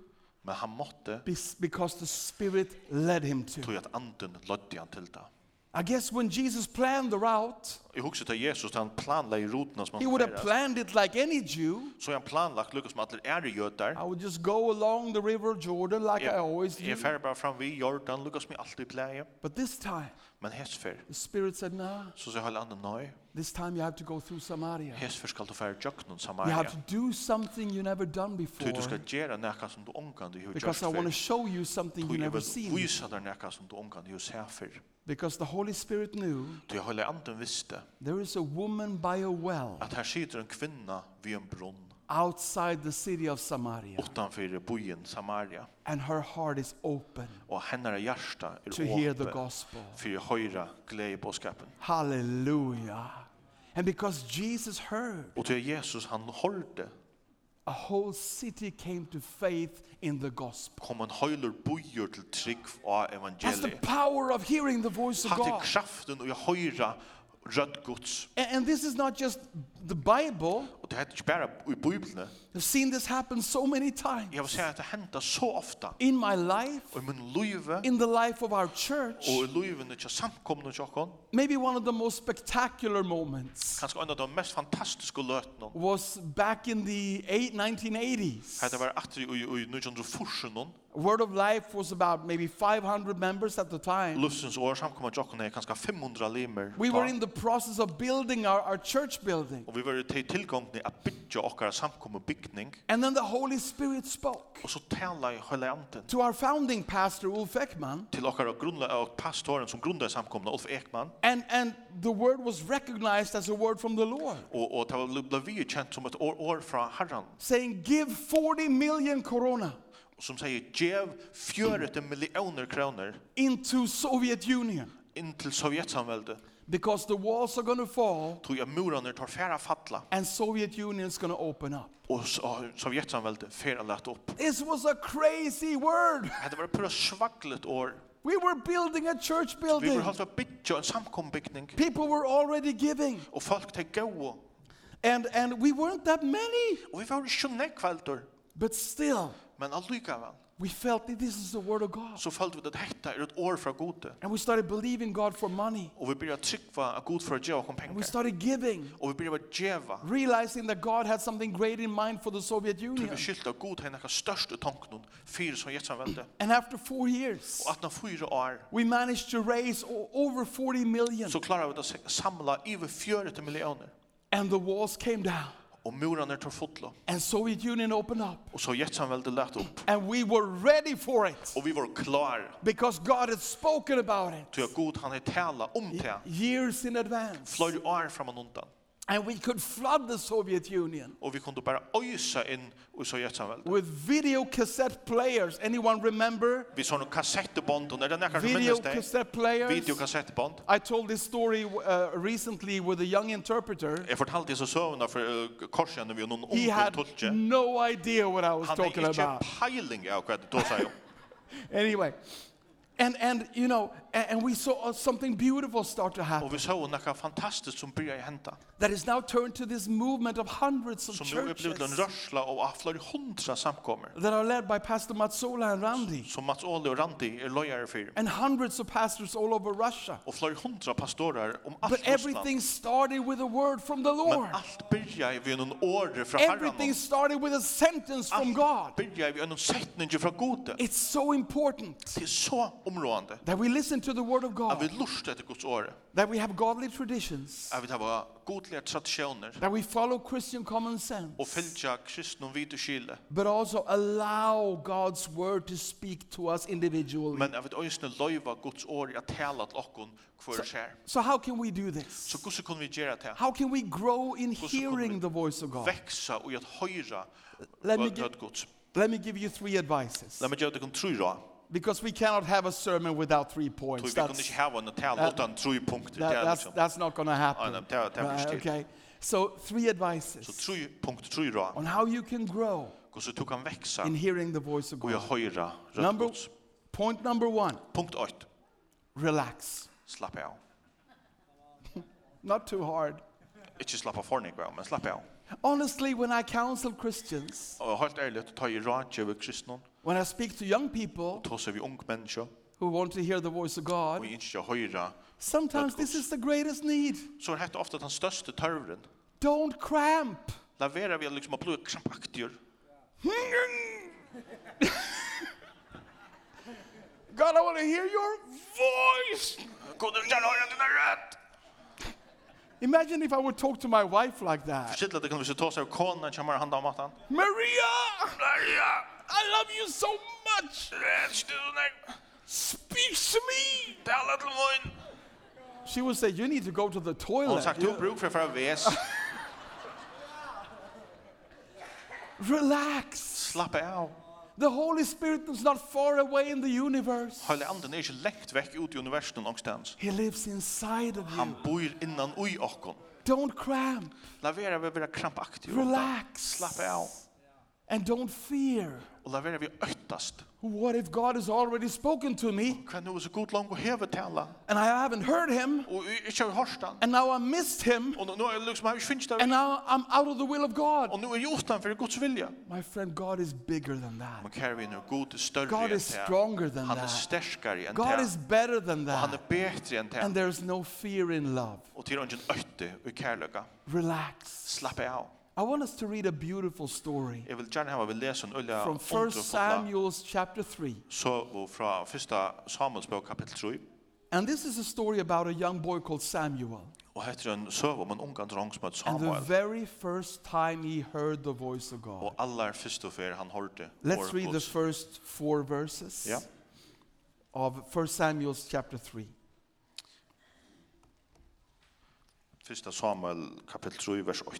S2: men han måtte
S3: be- because the Spirit led him to.
S2: tog at anden lødde han til det.
S3: I guess when Jesus planned the route,
S2: Jeg husker til Jesus, han planla i rutene som
S3: He
S2: han
S3: would have
S2: færast.
S3: planned it like any Jew.
S2: Så han planlagt lukket som atler er i jøtar.
S3: I would just go along the river Jordan like I always do.
S2: Jeg færre bare fram vi Jordan, lukket som jeg alltid pleier.
S3: But this time,
S2: Men hesfer,
S3: the Spirit said, nah,
S2: så sier hele andre nøy.
S3: this time you have to go through Samaria.
S2: Hesfer skal du fære jøkken
S3: You
S2: Samaria.
S3: have to do something you never done
S2: Ty
S3: before
S2: du skal gjøre nekka som du omgang du har gjort
S3: because I want to
S2: før.
S3: show you something
S2: Ty
S3: you
S2: jeg
S3: never
S2: vil
S3: seen.
S2: vise deg nekka som du omgang du har sett før.
S3: Because the Holy Spirit knew
S2: Ty jeg hele anden visste
S3: there is a woman by a well
S2: at her sitter en kvinna vid en brunn
S3: outside the city of Samaria,
S2: utanför byen Samaria
S3: and her heart is open
S2: och hennes hjärta
S3: to hear the
S2: är åpen
S3: gospel.
S2: för att höra glädjebåskapen.
S3: Hallelujah. And because Jesus heard,
S2: Och till Jesus han hörde
S3: A whole city came to faith in the gospel.
S2: kom en høyler bojur til trygg av
S3: That's the
S2: evangeliet.
S3: power of hearing the voice of
S2: Hatt i
S3: God.
S2: kraften og i høyra rødt gods.
S3: A- And this is not just the Bible.
S2: Og er det heter ikke bare i Bibelene.
S3: I've seen this happen so many times
S2: Jeg vil si at det hender så ofta.
S3: in my life,
S2: Og i min løyve,
S3: in the life of our church.
S2: og i løyvene til samkomne til okken,
S3: Maybe one of the most spectacular moments
S2: kanskje en av de mest fantastiske løtene.
S3: was back in the eight, 1980s.
S2: Hette var at i, i, i 1940-en,
S3: Word of Life was about maybe 500 members at the time.
S2: løsens år samkomne til okken er kanskje 500 limer.
S3: We were in the process of building our, our church building.
S2: Og vi var til tilgångene at bytja okkara samkomne bygning,
S3: And then the Holy Spirit spoke.
S2: og så tala i høyla anden
S3: to our founding pastor Ulf Ekman
S2: til okkara grunnla og pastoren som grundar samkomne, Ulf Ekman,
S3: and and the word was recognized as a word from the Lord
S2: Og, og det var Lublavi kjent som et år, år fra Herren,
S3: saying give 40 million corona
S2: som sier, «Gjev 40 millioner kroner
S3: into Soviet Union
S2: inn til Sovjetsamveldet,
S3: because the walls are going to fall
S2: tog jeg murene tar færa fatla,
S3: and Soviet Union is going to open up
S2: og, s- og Sovjetsamveldet færa lett opp».
S3: this was a crazy word
S2: Det var pura svaglet år.
S3: we were building a church
S2: Vi
S3: building
S2: var holdt ved bytja en samkombygning,
S3: people were already giving
S2: og folk til gode.
S3: and and we weren't that many
S2: Og vi var ikke nekvelder,
S3: but still
S2: men allikevel.
S3: we felt that this is the word of God
S2: Så følte vi at dette er et år fra gode.
S3: and we started believing God for money
S2: Og vi begynte å trykva at god for å gjøre oss
S3: and we
S2: penger.
S3: started giving
S2: Og vi begynte å gjøre.
S3: realizing that God had something great in mind for the Soviet
S2: Vi
S3: Union.
S2: beskyldte av god henne hva største tanken fyrir Sovjetsamveldet.
S3: And after four years,
S2: Og at når fyra år,
S3: we managed to raise o- over 40 million,
S2: så klarar vi det å se- samla över 40 miljoner.
S3: and the walls came down,
S2: Och murarna tar fotla.
S3: and Soviet Union opened up,
S2: Och så jättesamväldet lät upp.
S3: and we were ready for it
S2: Och vi var klar.
S3: because God had spoken about
S2: Ty
S3: it
S2: jag god han är tala om det.
S3: years in advance,
S2: Flöjde år framan undan.
S3: and we could flood the Soviet Union
S2: Och vi kunde bara öjsa in i så jättesamväldet.
S3: with video cassette players. Anyone remember
S2: Vi såg några kassettband. Och när den här
S3: video
S2: minns det.
S3: cassette players?
S2: Videokassettband.
S3: I told this story uh, recently with a young interpreter.
S2: Jag fortalte dessa sövna för uh, korsen när vi var någon
S3: He
S2: ung
S3: had
S2: tolke.
S3: no idea what I was
S2: Han
S3: talking
S2: är inte
S3: about.
S2: peiling av vad det då säger.
S3: Anyway, and and you know, A- And we saw uh, something beautiful start to
S2: Og
S3: happen
S2: vi så noe fantastisk som begynte å hente.
S3: that is now turned to this movement of hundreds of
S2: Som nå er
S3: churches
S2: blitt en rørsla og av flere hundra samkommer.
S3: that are led by Pastor Matsola and Randy,
S2: Som Mats Åle og Randi er løyere for.
S3: and hundreds of pastors all over Russia.
S2: Og flere hundra pastorer om alt
S3: But
S2: Russland.
S3: everything started with a word from the Lord.
S2: Men alt begynte vi noen åre fra herren.
S3: Everything started with a sentence from
S2: Alt
S3: God.
S2: begynte vi noen setning fra gode.
S3: It's so important
S2: Det er så områdende.
S3: that we listen to the word of
S2: At vi
S3: God,
S2: lust etter Guds åre.
S3: that we have godly traditions,
S2: At vi har godlige tradisjoner.
S3: that we follow Christian common sense,
S2: Og fylgja kristnum vidt og skile.
S3: but also allow God's word to speak to us individually.
S2: Men at vi øyne løyva Guds åre at tala til okkon hver skjer.
S3: So, how can we do this?
S2: Så hvordan kunne vi gjøre det?
S3: How can we grow in
S2: så kommer
S3: hearing
S2: vi-
S3: the voice of God?
S2: Veksa og at høyra
S3: Let me
S2: rød-
S3: gi-
S2: rød Guds.
S3: Let me give you three advices
S2: Let me gjøre det kun tru råd.
S3: because we cannot have a sermon without three
S2: Tui
S3: points.
S2: vi kunne
S3: That's,
S2: ikke hava en tala
S3: that-
S2: utan tru punkter.
S3: that-
S2: Det er
S3: that's,
S2: liksom.
S3: that's not going to
S2: nei,
S3: happen.
S2: det er- det er
S3: Right,
S2: forstyrret.
S3: Okay. So, three
S2: Så
S3: advices
S2: tru punkt tru råd.
S3: on how you can grow
S2: Hvordan du kan veksa
S3: in hearing the voice of
S2: og
S3: God.
S2: høyra rød
S3: Number,
S2: Guds.
S3: point number one
S2: Punkt 8.
S3: relax.
S2: Slapp av.
S3: Not too hard.
S2: Ikke slapp av fornig, men slapp av.
S3: Honestly, when I counsel Christians,
S2: Og helt ærligt, ta i råd til kristnum.
S3: when I speak to young people
S2: Ta seg vi ung mennesker.
S3: who want to hear the voice of
S2: Og
S3: God,
S2: ikke høyra
S3: sometimes this is the greatest need.
S2: så er dette ofte den største tørveren.
S3: Don't cramp.
S2: Laverer vi liksom å bli krampaktiger.
S3: God, I want to hear your voice.
S2: Kunne du gjerne høre at den er rett?
S3: Imagine if I would talk to my wife like that.
S2: Sittlet det kan vi se ta seg av konen kommer og handler om maten.
S3: Maria,
S2: Maria!
S3: I love you so much.
S2: Rett du deg!
S3: Speak to me.
S2: Tala til munn!
S3: She would say, You need to go to the
S2: Og
S3: toilet.
S2: han sagt, du har bruk for fra ves.
S3: Relax.
S2: Slapp av.
S3: The Holy Spirit is not far away in the universe,
S2: Høyre anden er ikke lengt vekk ut i universen noenstans.
S3: He lives inside of you.
S2: Han bor innan ui okkon.
S3: Don't cramp.
S2: Lavera vi vera krampaktig.
S3: Relax.
S2: Slapp av.
S3: And don't fear.
S2: Og lavera vi øytast.
S3: What if God has already spoken to me
S2: Hva nu er så god lang og heve tala?
S3: and I haven't heard him
S2: Og i- ikke har vi hørt han.
S3: and now I missed him
S2: Og nå- nå er det liksom, jeg har ikke finnes det.
S3: and now I'm out of the will of God?
S2: Og nå er jeg utenfor Guds vilja.
S3: My friend, God is bigger than
S2: Men
S3: that.
S2: kære vinner, Gud er større
S3: God
S2: enn
S3: is stronger than
S2: Han er
S3: that.
S2: sterkare enn
S3: God is
S2: det.
S3: better
S2: Han
S3: than
S2: er
S3: that.
S2: betre enn
S3: And
S2: det.
S3: there's no fear in love.
S2: Og til ungen øyte og kærløkka.
S3: Relax.
S2: Slapp av.
S3: I want us to read a beautiful story
S2: Jeg vil gjerne hava vi lese en ulla
S3: from 1 Samuel chapter 3.
S2: Så fra 1. Samuels bok kapitel 3.
S3: And this is a story about a young boy called Samuel.
S2: Og heter en søv om en unga drong som heter
S3: And the
S2: Samuel.
S3: very first time he heard the voice of God.
S2: Og allar fyrst og fyrir han hørte.
S3: Let's
S2: ordet
S3: read the
S2: Guds.
S3: first four verses
S2: Ja.
S3: of 1 Samuel chapter 3.
S2: 1. Samuel kapitel 3 vers 8.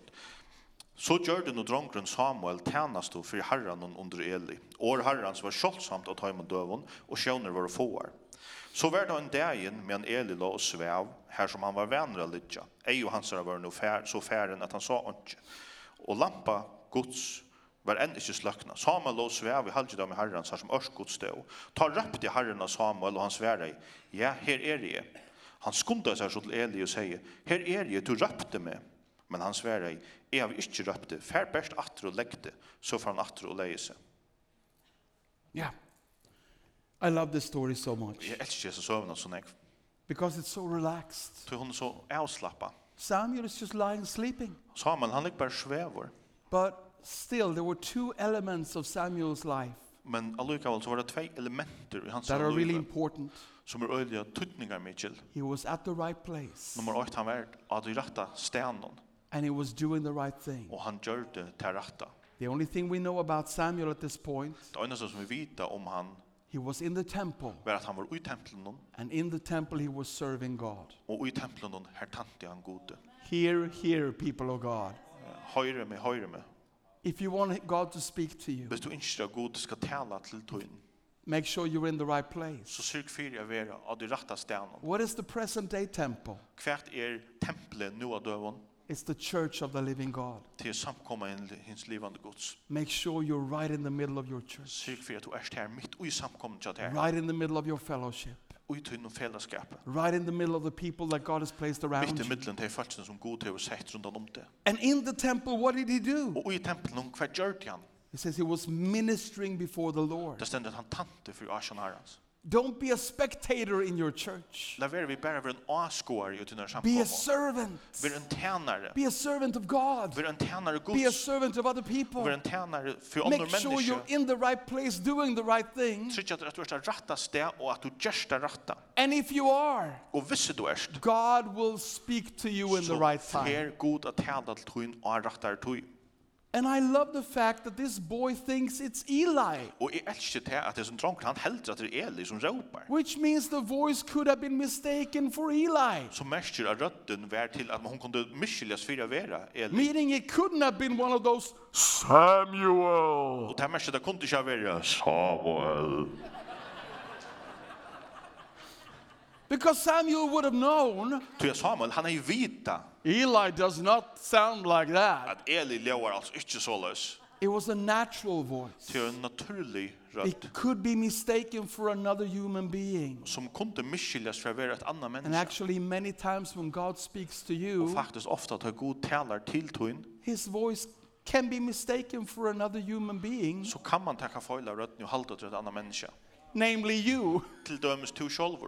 S2: Så gjør det nå drongren Samuel tjenest og for herren under Eli. År herrens var kjølsamt av tøymen døven, og sjøner var fåar. Så var det en dagen med en Eli la og svev, her som han var venner av Lidja. Ei og hans er var nå fær, så færen at han sa ikke. Og lampa Guds var enn ikke sløkna. Samuel lå og svev i halvdje dem i herrens, her som ørsk Guds stå. Ta røpte herren av Samuel, og han sværer, ja, her er jeg. Han skundar seg så til Eli og sier, «Her er jeg, du røpte meg!» Men han sverer, «Jeg har ikke røpte, fær best atter og legte!» Så får han atter og leie seg.
S3: Yeah. I love this story so much
S2: Jeg elsker Jesus søvn og sånn jeg.
S3: because it's so relaxed.
S2: Så hun er så avslappa.
S3: Samuel is just lying sleeping.
S2: Samuel, han ligger bare svever.
S3: But still, there were two elements of Samuel's life
S2: Men allikevel så var det tvei elementer i hans
S3: that are really
S2: liv
S3: important.
S2: som er øyelige tøtninger med til.
S3: He was at the right place
S2: Nummer 8, han var av de rette stenen,
S3: and he was doing the right thing.
S2: og han gjør det til rette.
S3: The only thing we know about Samuel at this point,
S2: Det eneste som vi vet om han,
S3: he was in the temple,
S2: um var at han var i tempelen,
S3: and in the temple, he was serving God.
S2: og i tempelen her tante han gode.
S3: Hear, hear, people of God.
S2: Høyre med, høyre med,
S3: If you want God to speak to you,
S2: Hvis du ønsker at Gud skal tale til tøyen,
S3: make sure you're in the right place.
S2: så sørg for å være av de rette stedene.
S3: What is the present day temple?
S2: Hvert er tempelet nå av døven
S3: It's the church of the living God.
S2: til å samkomme i hans livande gods.
S3: Make sure you're right in the middle of your church,
S2: Sørg for at du er her midt i samkommet til her,
S3: right in the middle of your fellowship,
S2: i tøyne fellesskapet.
S3: right in the middle of the people that God has placed around
S2: Mitt i
S3: you.
S2: middelen til falskene som god til å sett rundt om det.
S3: And in the temple, what did he do?
S2: Og i tempelen, hva gjør det han?
S3: He says he was ministering before the Lord.
S2: Det stender at han tante for Asjan Harans.
S3: Don't be a spectator in your church.
S2: La være vi bare være en avskåer i denne
S3: Be a
S2: samkommet.
S3: servant.
S2: Vær en tænare.
S3: Be a servant of God.
S2: Vær en tænare
S3: Be a
S2: Guds.
S3: servant of other people.
S2: Vær en tænare for andre
S3: Make sure you're
S2: mennesker.
S3: in the right place doing the right thing.
S2: Trykk at du er det rette sted, og at du gjør det rette.
S3: And if you are,
S2: Og hvis du er det,
S3: God will speak to you in the right
S2: så
S3: time.
S2: er god at tale til tøyen og rette tøyen.
S3: And I love the fact that this boy thinks it's Eli,
S2: Og jeg elsker til at det som dronker, han helder at det er Eli som råper.
S3: which means the voice could have been mistaken for Eli.
S2: Så mestjer av rødden vær til at hun kunne miskyldes for å være Eli.
S3: Meaning it couldn't have been one of those
S4: Samuel.
S2: Og det mestjer det kunne ikke være Samuel.
S3: because Samuel would have known
S2: Til Samuel, han er jo vita
S3: Eli does not sound like that.
S2: at Eli lever altså ikke så løs.
S3: It was a natural voice.
S2: Til en er naturlig rødd
S3: It could be mistaken for another human being.
S2: som kunne miskyldes for å være et annet
S3: And
S2: menneske.
S3: actually, many times when God speaks to
S2: Og
S3: you,
S2: faktisk ofte at god taler til tøyen,
S3: his voice can be mistaken for another human being,
S2: så kan man takke feil av rødden og halde til et annet menneske.
S3: namely you.
S2: Til dømes to sjolver.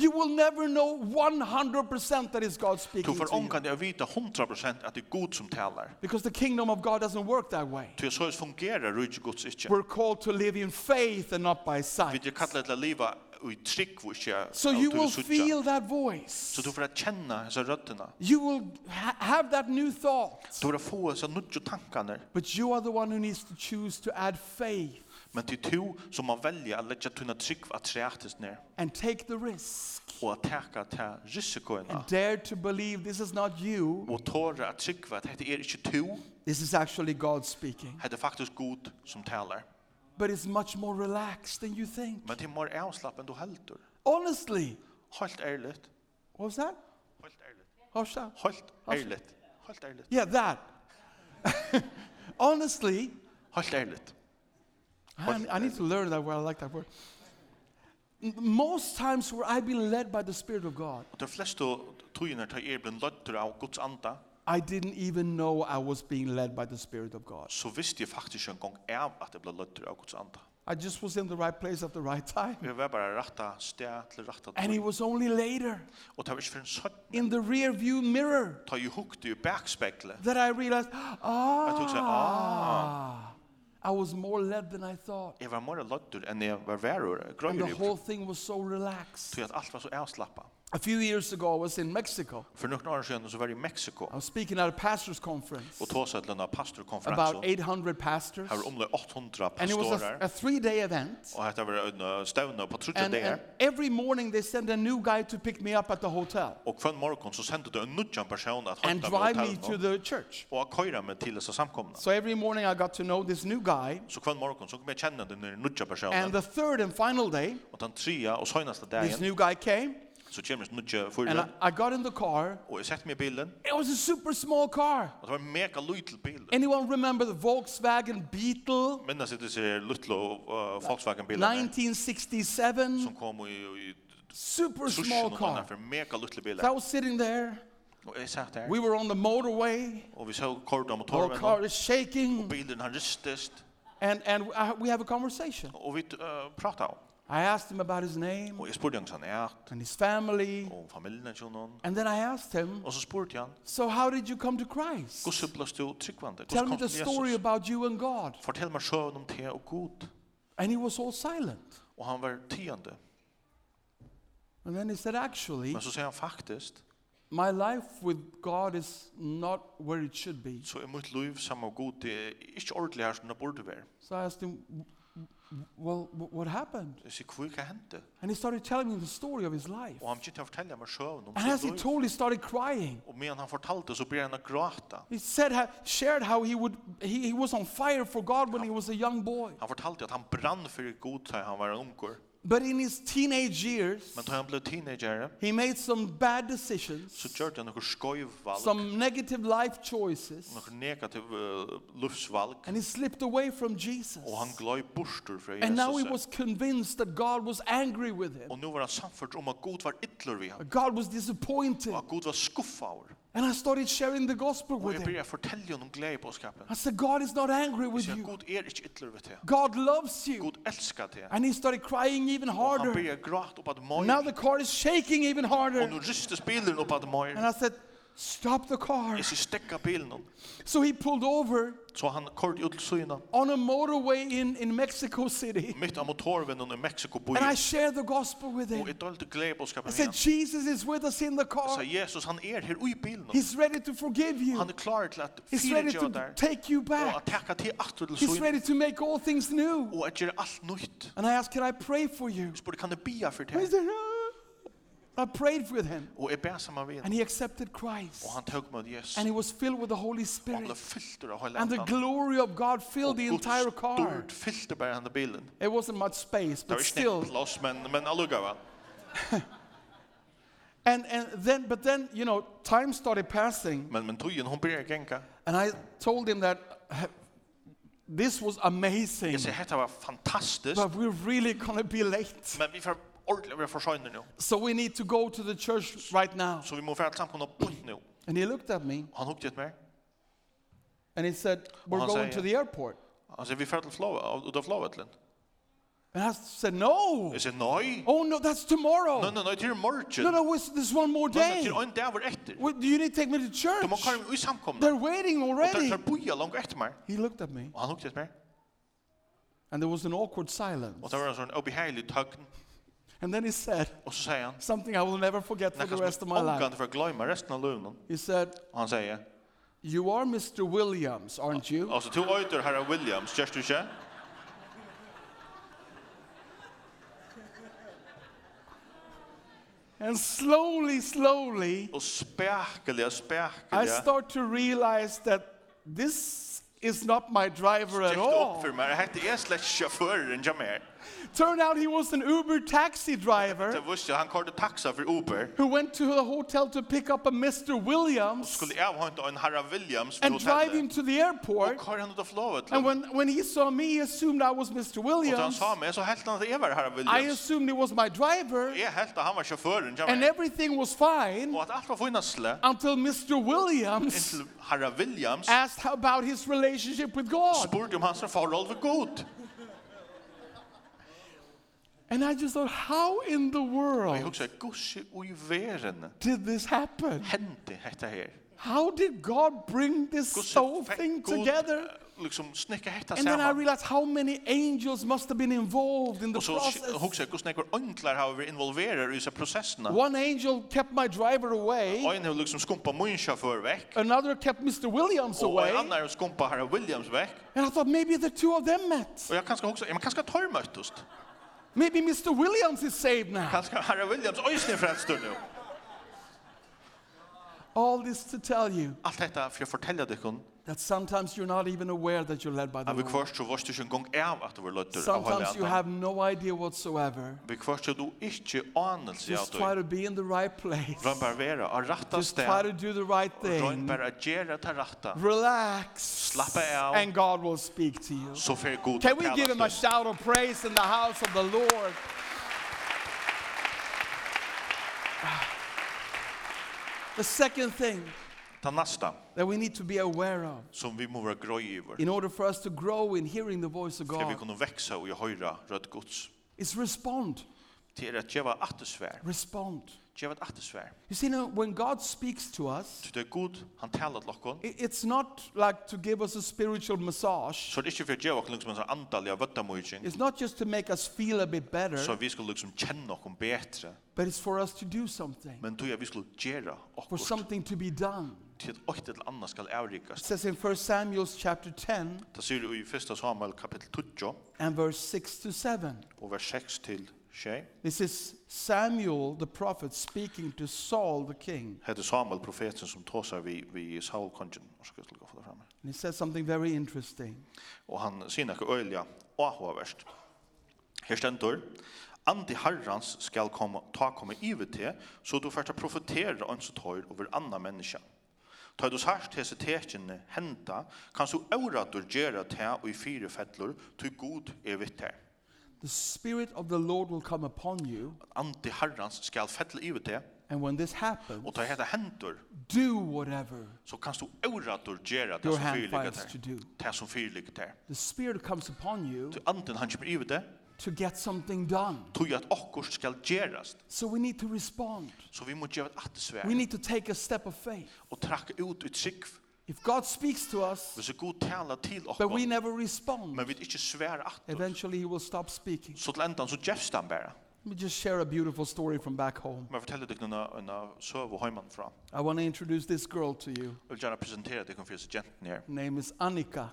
S3: You will never know 100% that is God
S2: To
S3: speaking
S2: for
S3: to you.
S2: ångan jeg vita 100% at det er god som taler.
S3: Because the kingdom of God doesn't work that way.
S2: Til så fungerer rydde gods ikke.
S3: We're called to live in faith and not by
S2: Vi
S3: sight.
S2: det kallar det liva i trygg og ikke
S3: So
S2: av
S3: you
S2: du
S3: will
S2: suttja.
S3: feel that voice.
S2: Så du får at kjenne disse røttene.
S3: You will ha have that new thought.
S2: Du får at få disse nudge tankene.
S3: But you are the one who needs to choose to add faith
S2: Men til to som må velge å legge tunne trygg at treates ned.
S3: and take the risk
S2: Og at teka til risikoene.
S3: and dare to believe this is not you.
S2: Og tåre at trygg at dette er ikke to.
S3: This is actually God speaking.
S2: Dette er faktisk god som taler.
S3: But it's much more relaxed than you think.
S2: Men er til mer avslapp enn du heldur.
S3: Honestly.
S2: Helt ærligt.
S3: What was that?
S2: Helt ærligt.
S3: How's that?
S2: Helt ærligt. Helt ærligt.
S3: Yeah, that. Honestly,
S2: Helt ærligt.
S3: I, I need to learn that word. I like that word. M- Most times where I've been led by the Spirit of God,
S2: Og de fleste togene tar er blitt løtter av Guds anda,
S3: I didn't even know I was being led by the Spirit of God.
S2: så visste jeg faktisk en gang av at jeg ble løtter av Guds anda.
S3: I just was in the right place at the right time.
S2: Vi var bare retta sted til retta
S3: And it
S2: tid.
S3: was only later,
S2: Og det var ikke for en søtt.
S3: in the rear view mirror,
S2: Ta jo hukt i bakspeklet.
S3: that I realized,
S2: took the-
S3: ah, I was more led than I thought.
S2: Jeg var mer løtter enn jeg var verur,
S3: And the
S2: grøyre.
S3: whole thing was so relaxed.
S2: Så at alt var så avslappa.
S3: A few years ago, I was in Mexico.
S2: For noen år siden så var jeg i Mexico
S3: I was speaking at a pastor's conference.
S2: og tog seg til denne
S3: about
S2: pastorkonferansen.
S3: 800 pastors.
S2: Her var omlai 800
S3: And it was a,
S2: pastorer.
S3: Oh, a three day event.
S2: Og dette var en uh, stevne på trutje
S3: And,
S2: der.
S3: and every morning they send a new guy to pick me up at the hotel
S2: Og kvann morgon så sendte du en nudjan person at
S3: and
S2: høyta på
S3: drive me to
S2: hotellet.
S3: the church.
S2: Og at køyra meg til disse samkomna.
S3: So every morning I got to know this new guy.
S2: Så kvann morgon så kom jeg kjenne den nudja
S3: And
S2: personen.
S3: the third and final day,
S2: Og den tria og søgnaste
S3: this
S2: dagen
S3: new guy came
S2: så kommer den nudja
S3: and I,
S2: fyra.
S3: I got in the car.
S2: Og jeg sette meg i bilen.
S3: It was a super small car.
S2: Og det var en mega lytel bil.
S3: Anyone remember the Volkswagen Beetle?
S2: Minnes jeg disse lytel og Volkswagen-bilen
S3: 1967,
S2: som eh, kom i, i
S3: super small
S2: sushen og annan
S3: car.
S2: for mega lytel
S3: So I
S2: biler.
S3: was sitting there.
S2: Og jeg satt der.
S3: We were on the motorway.
S2: Og vi så kort om
S3: Our
S2: torven.
S3: car is shaking.
S2: Bilen han ristest.
S3: And, and I, we have a conversation.
S2: Og vi uh, pratet om.
S3: I asked him about his name
S2: Og jeg spurte hans han er.
S3: and his family.
S2: Og familien til noen.
S3: And then I asked him,
S2: Og så spurte jeg han.
S3: So, how did you come to Christ?
S2: Gusse blås du tryggvande.
S3: Tell me the story about you and God.
S2: Fortell meg sjøen om te og god.
S3: And he was all silent.
S2: Og han var tiende.
S3: And then he said, Actually,
S2: Men så sier han faktisk,
S3: my life with God is not where it should be.
S2: så er mitt liv sammen med god, det er ikke ordentlig her som det burde være.
S3: So I asked him, "W- w- Well, wh- what happened?
S2: Jeg sier, hva kan hente?
S3: And he started telling me the story of his life.
S2: Og han begynte å fortelle meg sjøen om
S3: And as he
S2: um sitt liv.
S3: told, he started crying.
S2: Og medan han fortalte, så blir han å gråta.
S3: He said, ha- shared how he, would, he, he was on fire for God when he was a young boy.
S2: Han fortalte at han brann for god da han var en unger.
S3: But in his teenage years,
S2: Men da han ble teenager,
S3: he made some bad decisions,
S2: så gjør han noen skøyvalg,
S3: some negative life choices,
S2: noen negative uh, livsvalg,
S3: and he slipped away from Jesus.
S2: og han gløy borster fra
S3: And now he
S2: Jesus.
S3: was convinced that God was angry with him.
S2: Og nå var han samført om at Gud var ytler vi ham,
S3: God was disappointed.
S2: og at Gud var skuffet over.
S3: And I started sharing the gospel
S2: Og
S3: with
S2: jeg
S3: him.
S2: begynner å fortelle henne om glede på skapen.
S3: I said, God is not angry
S2: Jeg
S3: with
S2: sier,
S3: you.
S2: Gud er ikke ytler ved det.
S3: God loves you.
S2: Gud elsker det.
S3: And he started crying even
S2: Og han
S3: harder.
S2: begynner å gråte opp at
S3: Now
S2: møyre,
S3: the car is shaking even harder.
S2: og nå rystes bilen opp at
S3: And
S2: møyre.
S3: I said, Stop the car.
S2: Jeg sier, stekka bilen opp.
S3: So he pulled over
S2: Så han kort ut til syna,
S3: on a motorway in, in Mexico City.
S2: mitt av motorvennen i Mexico bor.
S3: And I shared the gospel with
S2: Og
S3: him.
S2: jeg dølte glede på
S3: I
S2: skapen
S3: said,
S2: igjen.
S3: Jesus is with us in the
S2: Jeg
S3: car.
S2: sier, Jesus, han er her i bilen.
S3: He's ready to forgive you.
S2: Han er klar til at
S3: He's
S2: fire
S3: ready
S2: gjør
S3: to
S2: der.
S3: take you
S2: Og
S3: back.
S2: at takka til atter til
S3: He's
S2: syna.
S3: ready to make all things new.
S2: Og at gjøre alt nytt.
S3: And I asked, Can I pray for you?
S2: Jeg spurte, kan jeg bia for
S3: He
S2: det?
S3: said, "Ah." I prayed with him.
S2: Og jeg ber sammen med
S3: And
S2: henne.
S3: he accepted Christ.
S2: Og han tøk med Jesus.
S3: And
S2: Og
S3: he was filled with the Holy
S2: han ble
S3: Spirit.
S2: fylter av hele
S3: And the glory of God filled the entire car.
S2: stort fylter bare henne bilen.
S3: It wasn't much space,
S2: Det
S3: but
S2: var ikke
S3: still.
S2: nekt plass, men, men allugga va.
S3: And, and then, but then, you know, time started passing.
S2: Men, men tøyen, hun blir genka.
S3: And I told him that "Uh, this was amazing,
S2: Jeg sier, dette var fantastisk.
S3: but we're really going to be late.
S2: Men vi får ordentlig være forsøgner nå.
S3: So we need to go to the church right now.
S2: Så vi må være sammen på punkt nå.
S3: And he looked at me
S2: Han hukte et mer.
S3: and he said, We're
S2: han säger-
S3: going to the airport.
S2: Han sier, vi får til flåa, ut av flåvetlen.
S3: And I said, No.
S2: Jeg sier, nei.
S3: Oh, no, that's tomorrow.
S2: Nei, nei, nei, til morgen.
S3: No, no, it's- there's one more
S2: Nei, nei,
S3: day.
S2: til en dag var etter.
S3: What, do you need to take me to church?
S2: Du må kare meg i samkomne.
S3: They're waiting
S2: Og der
S3: already.
S2: tar boja langt etter meg.
S3: He looked at me,
S2: Og han hukte et mer.
S3: and there was an awkward silence.
S2: Og det var en sånn obeheilig tøgn.
S3: And then he said
S2: Og så sier han,
S3: something I will never forget for the
S2: nekka
S3: rest
S2: som
S3: of my life.
S2: omgang for å gløyma resten av løvnen.
S3: He said,
S2: Og han sier,
S3: You are Mr. Williams, aren't you?
S2: altså, to øyder herra Williams, kjørst du ikke?
S3: And slowly, slowly,
S2: Og spekelig,
S3: I
S2: spekelig.
S3: start to realize that this is not my driver at
S2: Tjekk opp
S3: all.
S2: for meg, hette er slett sjåføren jeg mer.
S3: Turned out he was an Uber taxi
S2: Det
S3: driver
S2: visste jeg, han kørte taxa for Uber.
S3: who went to the hotel to pick up a Mr. Williams
S2: Skulle jeg ha en herra Williams
S3: and drive
S2: eh?
S3: him to the
S2: Og
S3: airport.
S2: kare han ut av
S3: And
S2: flåvetlen.
S3: when, when he saw me, he assumed I was Mr.
S2: Og da han
S3: Williams.
S2: sa meg, så helt han at jeg var herra
S3: I
S2: Williams.
S3: assumed it was my driver,
S2: Jeg helt at han var sjåføren jeg
S3: and
S2: mer.
S3: everything was fine
S2: Og at alt var finnasle.
S3: until Mr. Williams
S2: Inntil herra Williams
S3: asked how about his relationship with God.
S2: spurte om hans forhold var god.
S3: And I just thought, how in the
S2: Jeg
S3: world
S2: husker, gussi ui veren
S3: did this happen?
S2: hendi hetta her.
S3: How did God bring this whole
S2: fekk
S3: thing
S2: Gud,
S3: together?
S2: eh, liksom snikka hetta
S3: And then I
S2: saman.
S3: realized how many angels must have been involved in the
S2: Og så
S3: process.
S2: husker jeg, gussi nekvar øndlar hava vi involverer i disse prosessene.
S3: One angel kept my driver away,
S2: Ein hevur liksom skumpa mun sjåfør vekk.
S3: another kept Mr. Williams
S2: Og
S3: away,
S2: ein annar hevur skumpa herra Williams vekk.
S3: and I thought maybe the two of them met.
S2: Og jeg kanskje husker, jeg kanskje tar møttust.
S3: Maybe Mr. Williams is saved now.
S2: Kanskje herra Williams øysni frelstur nu.
S3: All this to tell you
S2: Alt hetta for å fortelja dykkum
S3: that sometimes you're not even aware that you're led by the
S2: at vi
S3: Lord.
S2: kvørst så varst du ikke en gang av at du var løttur av
S3: Sometimes you
S2: høyla
S3: have no idea whatsoever.
S2: Vi kvørst så du ikke anelse av
S3: Just
S2: du.
S3: try to be in the right place.
S2: Rønn bare vera av ratta
S3: Just try
S2: sted.
S3: to do the right
S2: Rønn
S3: thing.
S2: bare gjera ta ratta.
S3: Relax.
S2: Slappa av.
S3: And God will speak to you.
S2: Så fer god
S3: Can we give him a shout of praise in the house of the Lord? The second thing
S2: Ta nästa
S3: that we need to be aware of
S2: som vi må vara gröj över.
S3: in order for us to grow in hearing the voice of
S2: Ska vi
S3: God
S2: kunna växa och höra rött Guds.
S3: is respond.
S2: Till att geva attersvär.
S3: Respond.
S2: Geva ett attersvär.
S3: You see, now, when God speaks to us,
S2: Så det är god han talar till oss.
S3: i- it's not like to give us a spiritual massage.
S2: Så det er är inte för att geva oss liksom en sån andaliga vöttamöjning.
S3: It's not just to make us feel a bit
S2: Så
S3: better,
S2: vi skulle liksom känna oss bättre.
S3: but it's for us to do something,
S2: Men då är vi skulle gera
S3: for
S2: oss
S3: something to be done.
S2: till att ett eller annat ska
S3: It
S2: avrikas.
S3: says in 1 Samuel chapter 10
S2: Det ser du i första Samuel kapitel 12
S3: and verse 6 to 7.
S2: och vers 6 till 6.
S3: This is Samuel the prophet speaking to Saul the king.
S2: Hette er Samuel profeten som tåsar vid, vid Saul kongen. Och så ska jag gå och få det fram här.
S3: And he says something very interesting.
S2: og han sier nekka øyla åhåverst. Her stendur, Andi Herrans skal komme, ta komme ivet til, så du fært å profetere ønske tøyr over anna menneska. Ta du sært hese tekjene henta, kan så auratur gjera til og i fire fettlor, til god er vitt her.
S3: The Spirit of the Lord will come upon you.
S2: Andi Herrans skal fettle ivet til,
S3: And when this happens,
S2: og ta heta hentur,
S3: do whatever
S2: så kan du auratur gjera til
S3: your
S2: som
S3: hand
S2: fyrligger
S3: finds to
S2: til.
S3: do.
S2: Til som fyrligger til.
S3: The Spirit comes upon you
S2: Til anden han kommer ivet til,
S3: to get something done.
S2: tog at okkurs skal gjerast,
S3: So we need to respond.
S2: så vi må gjeva et
S3: We
S2: attesvær
S3: need to take a step of faith.
S2: og trakka ut ut sikv.
S3: If God speaks to us,
S2: Hvis er god tala til
S3: but we
S2: okkur,
S3: never respond,
S2: men vi ikke sværa attur,
S3: eventually He will stop speaking.
S2: så til endan så gjevst han bara.
S3: Let me just share a beautiful story from back home.
S2: Men fortelle deg noen en søv og heimann fra.
S3: I want to introduce this girl to you.
S2: Jeg vil gjerne presentere deg for disse jenten her.
S3: Her name is Annika.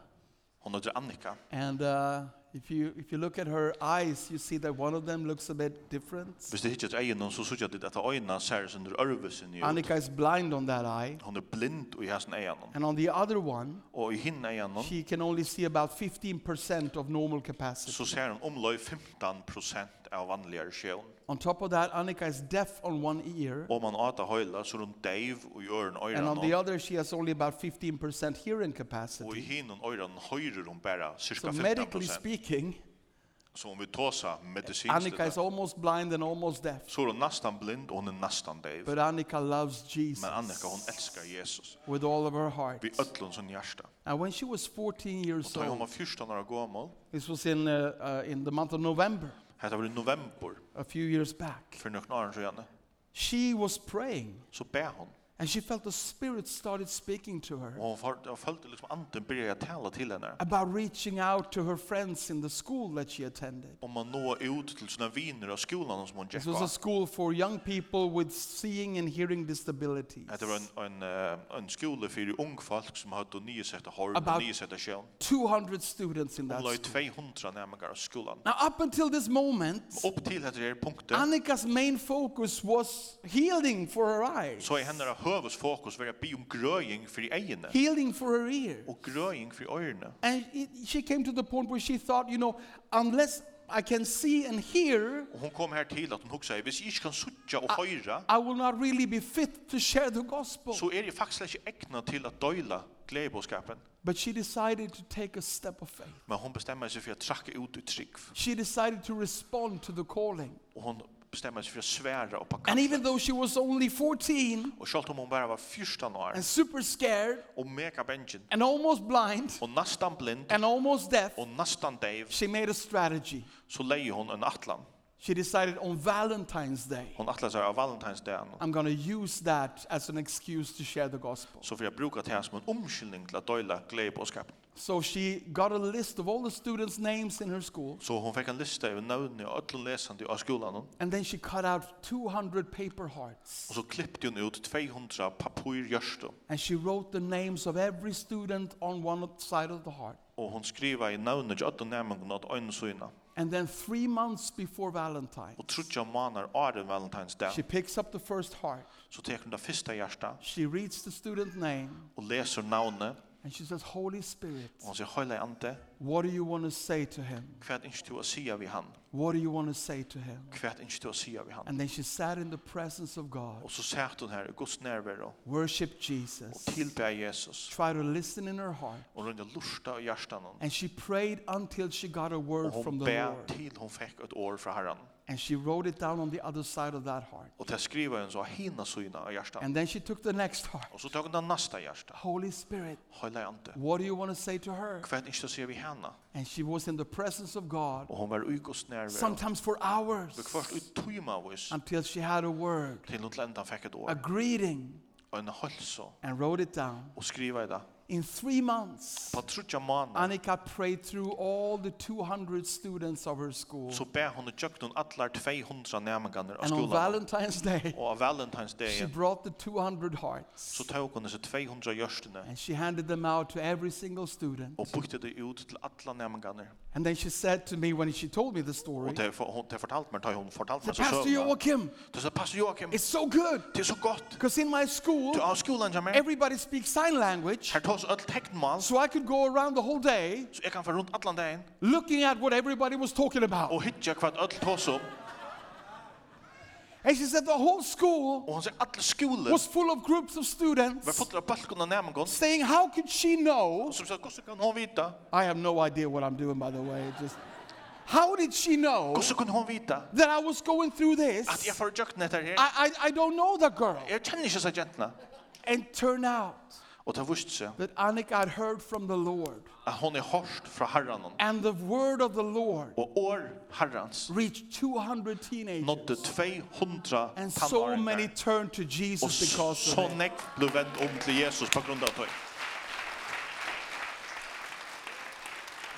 S2: Hon heter Annika.
S3: And uh, if, you, if you look at her eyes, you see that one of them looks a bit different.
S2: Hvis det hittet egen noen, så sier jeg at dette øyna ser sin ørvesen i ut.
S3: Annika is blind on that eye.
S2: Hon er blind i hessen egen.
S3: And on the other one,
S2: Og i hinn egen,
S3: she can only see about 15% of normal capacity.
S2: så ser hun omløy 15% av vanligere sjøen.
S3: On top of that, Annika is deaf on one ear.
S2: Og man ata høyla, så er hun deiv og i øren
S3: And on the
S2: øyren.
S3: other, she has only about 15% hearing
S2: Og i
S3: capacity.
S2: hinn øyren høyrer hun bare
S3: So,
S2: cirka
S3: medically
S2: 15%.
S3: speaking,
S2: Så om vi tåsa medisinsk,
S3: Annika is almost blind and almost deaf.
S2: så er hun nastan blind og hun er nastan deiv.
S3: But Annika loves Jesus
S2: Men Annika, hon elskar Jesus.
S3: with all of her heart.
S2: Vi ödlon som hjärsta.
S3: And when she was 14
S2: Og
S3: years
S2: ta hon var
S3: old,
S2: 14 år gammal.
S3: this was in, uh, uh, in the month of November,
S2: Hetta var i november
S3: a few years back,
S2: för några år sedan.
S3: she was praying
S2: Så ber hon.
S3: and she felt the Spirit started speaking to her
S2: Och hon får jag följde liksom anden börja tala till henne.
S3: about reaching out to her friends in the school that she attended.
S2: Om man når ut till sina viner av skolan som hon gick
S3: This was a
S2: på.
S3: school for young people with seeing and hearing disabilities.
S2: Det var en, en, eh, en skola för ung folk som hade nya sätt att hålla
S3: About-
S2: och nya sätt att kön.
S3: 200 students in that
S2: Hon la ju
S3: school.
S2: 200 närmare av skolan.
S3: Now, up until this moment,
S2: Upp till det här punkten
S3: Annika's main focus was healing for her eyes,
S2: så är henne hövus fokus var att be om gröjning för egna
S3: healing for her ear.
S2: och gröjning för öronen.
S3: And it, she came to the point where she thought, you know, unless I can see and hear,
S2: Och hon kom här till att hon hugsade, hvis jag inte kan suttja
S3: Ah.
S2: och höra,
S3: I will not really be fit to share the gospel.
S2: så er är det faktiskt inte ägna till att döjla glädjebåskapen.
S3: But she decided to take a step of faith.
S2: Men hon bestämmer sig för att tracka ut ett trygg.
S3: She decided to respond to the calling.
S2: Och hon bestämmer sig för att svära och
S3: And
S2: packa.
S3: even though she was only 14
S2: Och själv om hon bara var 14 år
S3: and super scared
S2: och mega bänken
S3: and almost blind
S2: och nästan blind
S3: and almost deaf,
S2: och nästan däv
S3: she made a strategy.
S2: så lejer hon en atlan.
S3: She decided on Valentine's Day,
S2: Hon atlan sig av valentinsdagen.
S3: I'm going to use that as an excuse to share the gospel.
S2: Så för jag brukar det här som en omkyldning till att döjla glädjebåskapen.
S3: So she got a list of all the students' names in her school.
S2: Så hon fick en lista över nödvändiga och ödlån läsande av skolan. Och
S3: And then she cut out 200 paper hearts.
S2: så klippte hon ut 200 papyrjörstå.
S3: And she wrote the names of every student on one side of the heart.
S2: og hon skriva i navnet til åtta nærmengun at øynene søgna.
S3: And then three months before Valentine,
S2: Og trutja manar åren valentines dag,
S3: she picks up the first heart.
S2: så tek hon det fyrsta hjarta
S3: She reads the student name.
S2: og leser navnet,
S3: And she says, Holy Spirit,
S2: og hon sier, Høyla ante,
S3: what do you want to say to him?
S2: hva er ikke du å sia vi han?
S3: What do you want to say to him?
S2: Hva er ikke du å sia vi han?
S3: And then she sat in the presence of God,
S2: Og så sært hon her i Guds nærvero
S3: worshiped
S2: og
S3: Jesus,
S2: tilbe Jesus
S3: tried to listen in her heart.
S2: og runde lusta i hjartan hon.
S3: And she prayed until she got a word
S2: Og hon
S3: from the
S2: be
S3: Lord.
S2: til hon fekk et år fra herran.
S3: And she wrote it down on the other side of that heart.
S2: Og til skriva hon så hina søgna av hjartan.
S3: And then she took the next heart.
S2: Og så tok hon den nasta hjarta.
S3: Holy Spirit,
S2: Høyla ante,
S3: what do you want to say to her?
S2: hva er ikke du å sia vi hana?
S3: And she was in the presence of God,
S2: Og hon var i Guds nærvero.
S3: sometimes for hours,
S2: Vi kvart ut tøyma vis.
S3: until she had a word,
S2: til något land han fick ett
S3: a
S2: år
S3: greeting,
S2: och en hälsa
S3: and wrote it down.
S2: och skriva i det.
S3: In three months,
S2: På trutja månader
S3: Annika prayed through all the 200 students of her school.
S2: så ber hon och tjökt hon alla 200 nämngarna av
S3: And on
S2: skolan.
S3: Valentine's Day,
S2: Och av Valentine's Day
S3: she brought the 200 hearts
S2: så tog hon dessa 200 görsterna
S3: and she handed them out to every single student.
S2: och bukte det ut till alla nämngarna.
S3: And then she said to me when she told me the story,
S2: Och det har hon det fortalt mig, det har hon fortalt
S3: The
S2: mig så
S3: Pastor
S2: sövna.
S3: Joachim,
S2: Det sa pastor Joakim,
S3: it's so good
S2: det är så gott.
S3: because in my
S2: Du
S3: school,
S2: har skolan jag med.
S3: everybody speaks sign language.
S2: Här tas allt tecknmål
S3: So I could go around the whole day
S2: så jag kan få runt alla dagen Oh.
S3: looking at what everybody was talking about.
S2: um. och hitta kvart allt tas om.
S3: And she said the whole school
S2: Og han sier alle skolen
S3: was full of groups of
S2: var
S3: students
S2: fullt av balkon og nærmengon.
S3: saying, How could she know?
S2: Som sier, hvordan kan hun vita?
S3: I have no idea what I'm doing, by the way. Just How did she know
S2: Hvordan kan hun vita
S3: that I was going through
S2: at jeg
S3: this?
S2: får jøkken etter her?
S3: I, I, I don't know the girl.
S2: Jeg kjenner ikke seg jentene.
S3: And turn out
S2: Og det viste seg
S3: that Annika had heard from the Lord,
S2: at hun er hårst fra herren.
S3: and the word of the Lord
S2: Og år herrens
S3: reached 200 teenagers.
S2: nådde 200
S3: And so many
S2: tannåringar.
S3: turned to
S2: Og
S3: Jesus because
S2: så
S3: of it.
S2: nekk ble vendt om um til Jesus på grunn av det.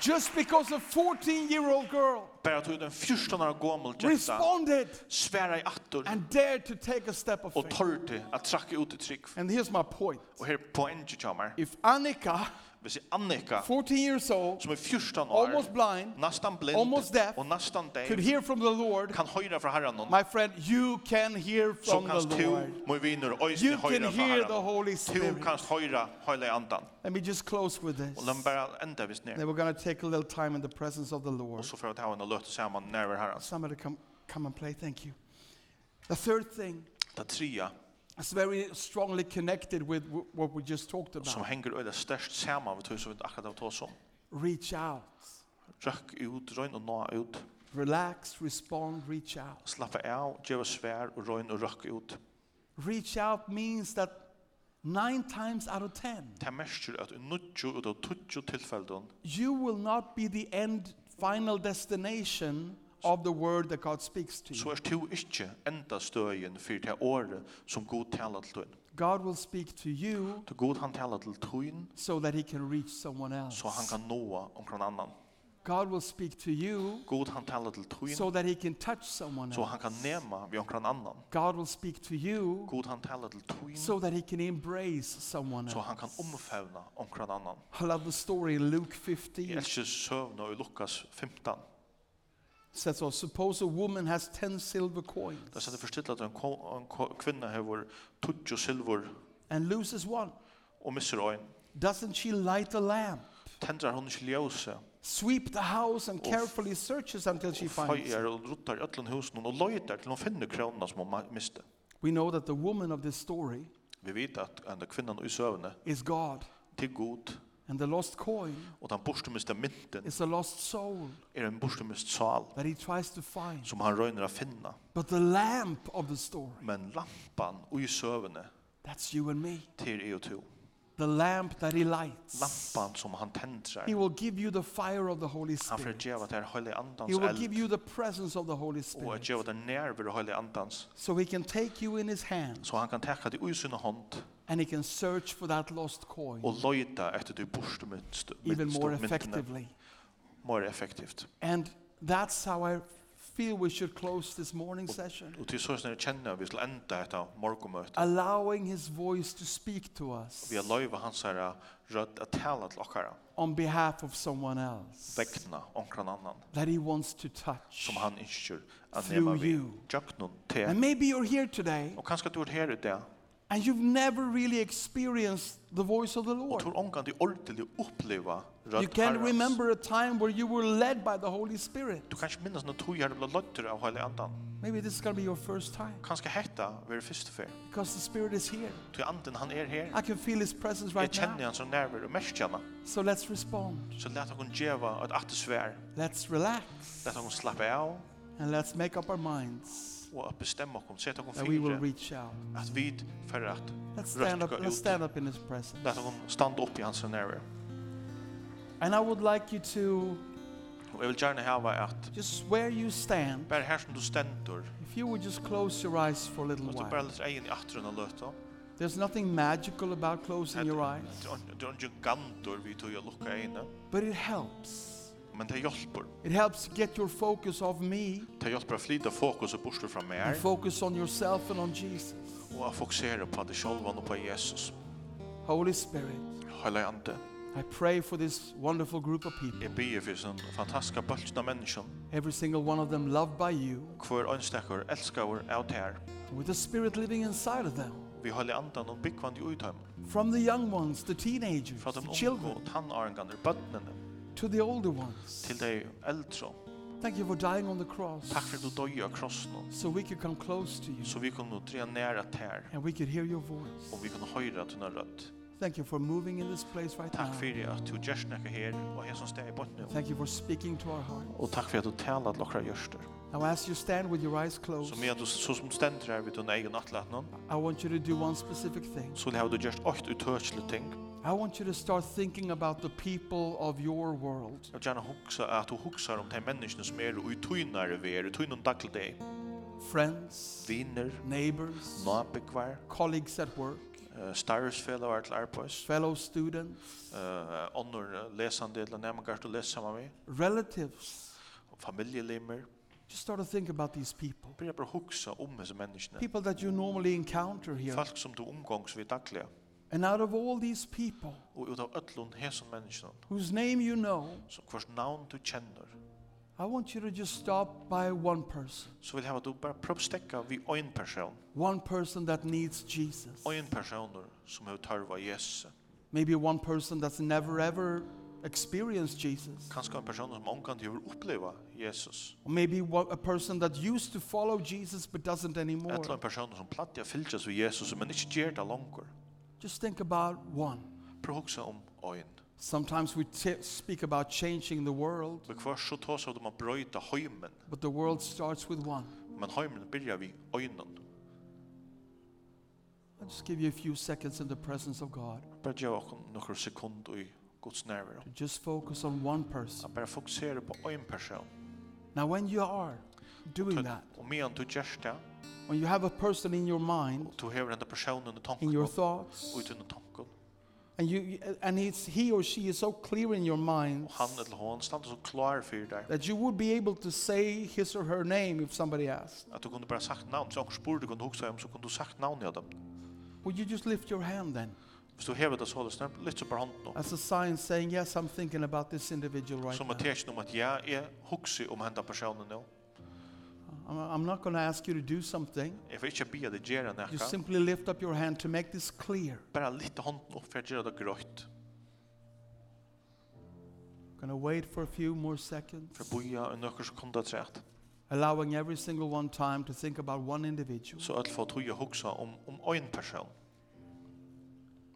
S3: Just because a 14 year old girl
S2: Bare at hun den 14 år gammel jenta
S3: responded
S2: sværa i attor
S3: and dared to take a step of
S2: og
S3: faith.
S2: tørte at trakke ut i trygg.
S3: And here's my point.
S2: Og her er på en kjammer,
S3: If Annika,
S2: hvis jeg Annika,
S3: 14 years old,
S2: som er 14 år,
S3: almost blind,
S2: nästan blind
S3: almost deaf,
S2: og nästan døv,
S3: could hear from the Lord,
S2: kan høyra fra herren noen,
S3: my friend, you can hear
S2: så
S3: from the
S2: kan tu,
S3: Lord.
S2: må vinner, øyne
S3: You can
S2: høyra fra
S3: hear the
S2: herren.
S3: Holy
S2: Tu
S3: Spirit.
S2: kan høyra høyla i andan.
S3: Let me just close with this.
S2: Og la meg bare enda hvis ned.
S3: Then we're going to take a little time in the presence of the Lord.
S2: Og så får jeg ta henne og løte sammen nærver herren.
S3: Somebody come, come and play. Thank you. The third thing
S2: Det tria
S3: is very strongly connected with w- what we just talked
S2: som
S3: about.
S2: henger øyla størst sammen ved hus som vi akkurat har tås om.
S3: Reach out.
S2: Røkk ut, røyn og nå ut.
S3: Relax, respond, reach out.
S2: Slappa av, gjeva svær og røyn og røkk ut.
S3: Reach out means that nine times out of ten,
S2: Det merker at i nudjo ut av tutjo tilfelden
S3: you will not be the end, final destination of the word that God speaks to
S2: så
S3: you.
S2: er tu ikke enda støyen for det året som god taler til tøyen.
S3: God will speak to you
S2: Så god han taler til tøyen
S3: so that he can reach someone else.
S2: så han kan nåa omkring annan.
S3: God will speak to you
S2: God han talar til
S3: so
S2: tøyen,
S3: that he can touch someone
S2: så
S3: else.
S2: han kan nema vi omkring annan.
S3: God will speak to you
S2: God han talar til tøyen,
S3: so that he can embrace someone
S2: så han kan
S3: else.
S2: omfavna omkring annan.
S3: I love the story in Luke
S2: Jeg
S3: 15.
S2: elsker søvna i Lukas 15.
S3: says, oh, suppose a woman has 10 silver
S2: Det
S3: coins
S2: sier det forstilt at en, ko- en ko- kvinna hever tutjo silver
S3: and loses one.
S2: og misser øyn.
S3: Doesn't she light a lamp,
S2: Tendrar hun ikke ljøse,
S3: sweep the house, and
S2: f-
S3: carefully searches until she
S2: og
S3: finds it?
S2: feier og ruttar i öllun husen og løytar til hun finner krona som hun ma- mister.
S3: We know that the woman of this story
S2: Vi vet at enda kvinnan i søvne
S3: is God,
S2: til god,
S3: and the lost coin
S2: og den borstumiste mynten
S3: is a lost soul
S2: er en borstumist sal
S3: that he tries to find.
S2: som han røyner å finna.
S3: But the lamp of the story,
S2: Men lampan og i søvne
S3: that's you and me,
S2: til er jo to.
S3: the lamp that he lights.
S2: Lampan som han tendrar.
S3: He will give you the fire of the Holy
S2: Han får
S3: Spirit.
S2: djeva til høylig
S3: He
S2: andans
S3: will give
S2: eld
S3: you the presence of the
S2: og
S3: Holy
S2: at
S3: Spirit.
S2: djeva til nerver høylig andans
S3: So he can take you in his hand
S2: så han kan teka til usynne hånd
S3: and he can search for that lost coin
S2: og løyta etter du borste mynst
S3: even more
S2: myntene
S3: effectively.
S2: mer effektivt.
S3: And that's how I feel we should close this morning session.
S2: Og til så snar kjenner vi til enda etter morgomøte.
S3: Allowing his voice to speak to us
S2: Vi har løyva hans her rødt at tala til okkara
S3: on behalf of someone else
S2: vegna omkran annan
S3: that he wants to touch.
S2: som han innskjur at
S3: Through
S2: nema vi
S3: you.
S2: tjöknun
S3: And
S2: til.
S3: maybe you're here today
S2: Og kanskje du er her i dag
S3: and you've never really experienced the voice of the
S2: og
S3: Lord.
S2: tror omkran til ordentlig oppleva
S3: You
S2: rødt
S3: can remember a time where you were led by the Holy Spirit.
S2: Du kanskje minnes når tog her ble løtter av heilig andan.
S3: Maybe this is going to be your first time
S2: Kanskje hetta være første fyr.
S3: because the Spirit is here.
S2: Til anden han er her.
S3: I can feel His presence
S2: Jeg
S3: right
S2: kjenner
S3: now.
S2: han som nærvær og mest kjenner.
S3: So let's respond.
S2: Så let hon djeva et atte svær.
S3: Let's relax
S2: Let hon slappe av
S3: and let's make up our minds
S2: og at bestemme hon. Sett hon
S3: that we will
S2: fyre
S3: reach out.
S2: at vi fer at
S3: Let's stand up.
S2: rødt
S3: Let's
S2: ut.
S3: stand up in His presence.
S2: Let hon standa opp i hans nærvær.
S3: And I would like you to
S2: Og jeg vil gjerne hava at
S3: just where you stand,
S2: bare her som du stendur
S3: if you would just close your eyes for a little
S2: Og du bare
S3: while.
S2: litt egen i atrun og løta.
S3: There's nothing magical about closing your eyes,
S2: Det er ikke gantor vi tog å lukka egne.
S3: but it helps.
S2: Men det hjelper.
S3: It helps get your focus off me
S2: Det hjelper å flyta fokuset bort fra
S3: and
S2: meg.
S3: focus on yourself and on Jesus.
S2: Og å fokusere på det sjølva og på Jesus.
S3: Holy Spirit,
S2: Heilig ande.
S3: I pray for this wonderful group of people,
S2: Jeg byr for sin fantastiska bulten av menneskjon.
S3: every single one of them loved by you,
S2: Hver ønstekker, elskar av er tær.
S3: with the Spirit living inside of them.
S2: Vi heilig andan og byggvand i uthøym.
S3: From the young ones, the teenagers,
S2: Fra
S3: Mm. the
S2: de unge
S3: children,
S2: og tannarengarnir, bøttnene,
S3: to the older ones.
S2: til de eldre.
S3: Thank you for dying on the cross
S2: Takk for at du døg av krossen,
S3: so we could come close to you
S2: så vi kunne tre nære tær,
S3: and we could hear your voice.
S2: og vi kunne høyre at hun er rødt.
S3: Thank you for moving in this place right now.
S2: Takk for at du gjørs nekka her, og her som steg i bort nå.
S3: Thank you for speaking to our heart.
S2: Og takk for at du taler til okra gjørster.
S3: Now, as you stand with your eyes closed,
S2: Så med at du så som stender her vid din egen nattlaten,
S3: I want you to do one specific thing.
S2: så har du gjørst åkt utørselig ting.
S3: I want you to start thinking about the people of your world.
S2: Jeg vil gjerne huksa at du huksar om de menneskene som er og utøynare vi er, utøynare daglig deg.
S3: Friends,
S2: Viner,
S3: neighbors,
S2: nabekvar,
S3: colleagues at work,
S2: eh, starresfelavar til arbeids,
S3: fellow students,
S2: uh, onnur lesande eller nærmengar du leser saman med,
S3: relatives.
S2: og familjelimmer.
S3: Just start to think about these people.
S2: Byrja bara hugsa om hese menneskene.
S3: People that you normally encounter here.
S2: Folk som du omgångs vid dagliga.
S3: And out of all these people
S2: Og ut av öllun hesen menneskene,
S3: whose name you know,
S2: som hvers navn du kjenner,
S3: I want you to just stop by one person.
S2: så vil jeg hava at du bara prøvstekka vi ein person.
S3: One person that needs Jesus.
S2: Ein personer som har tarva Jesus.
S3: Maybe one person that's never ever experienced Jesus.
S2: Kanskje en person som omkant har oppleva Jesus.
S3: Or maybe one, a person that used to follow Jesus but doesn't anymore.
S2: Etla en person som platja fylgjas vi Jesus, men ikke gjer det langer.
S3: Just think about one.
S2: Prøv hugsa um om ein.
S3: Sometimes we t- speak about changing the world,
S2: Og hver så tås av dem å um brøyta heimen,
S3: but the world starts with one.
S2: men heimen byrja vi øynen.
S3: I'll just give you a few seconds in the presence of God
S2: Bara gjør okkur nokkur sekund i Guds nærvaro.
S3: to just focus on one person.
S2: Han bara fokuserar på en person.
S3: Now, when you are doing that,
S2: Og medan du gjørs det,
S3: when you have a person in your mind,
S2: og du hever den personen i
S3: in
S2: tanken,
S3: your
S2: og
S3: thoughts,
S2: ut under tanken,
S3: and you and it's he or she is so clear in your mind
S2: og han eller hon standa så klar for deg,
S3: that you would be able to say his or her name if somebody asked.
S2: at du kunne bara sagt navn, så okkur spurte du kunne hugsa um, om, så kunne du sagt navn i dem.
S3: Would you just lift your hand then,
S2: Hvis du hever det så løs, litt så bara hånden nå.
S3: as a sign saying, "Yes, I'm thinking about this individual right
S2: Som
S3: now."
S2: er tekst om at jeg er hugsi om henda personen nå.
S3: I'm, I'm not going to ask you to do something.
S2: Jeg vil ikke bia deg gjøre
S3: You
S2: nekka,
S3: simply lift up your hand to make this clear.
S2: bara litt hånden opp for å gjøre det grøyt.
S3: I'm going to wait for a few more seconds,
S2: For boja og nøkker sekunder trett.
S3: allowing every single one time to think about one individual.
S2: Så öll får tog och huxa om om en person.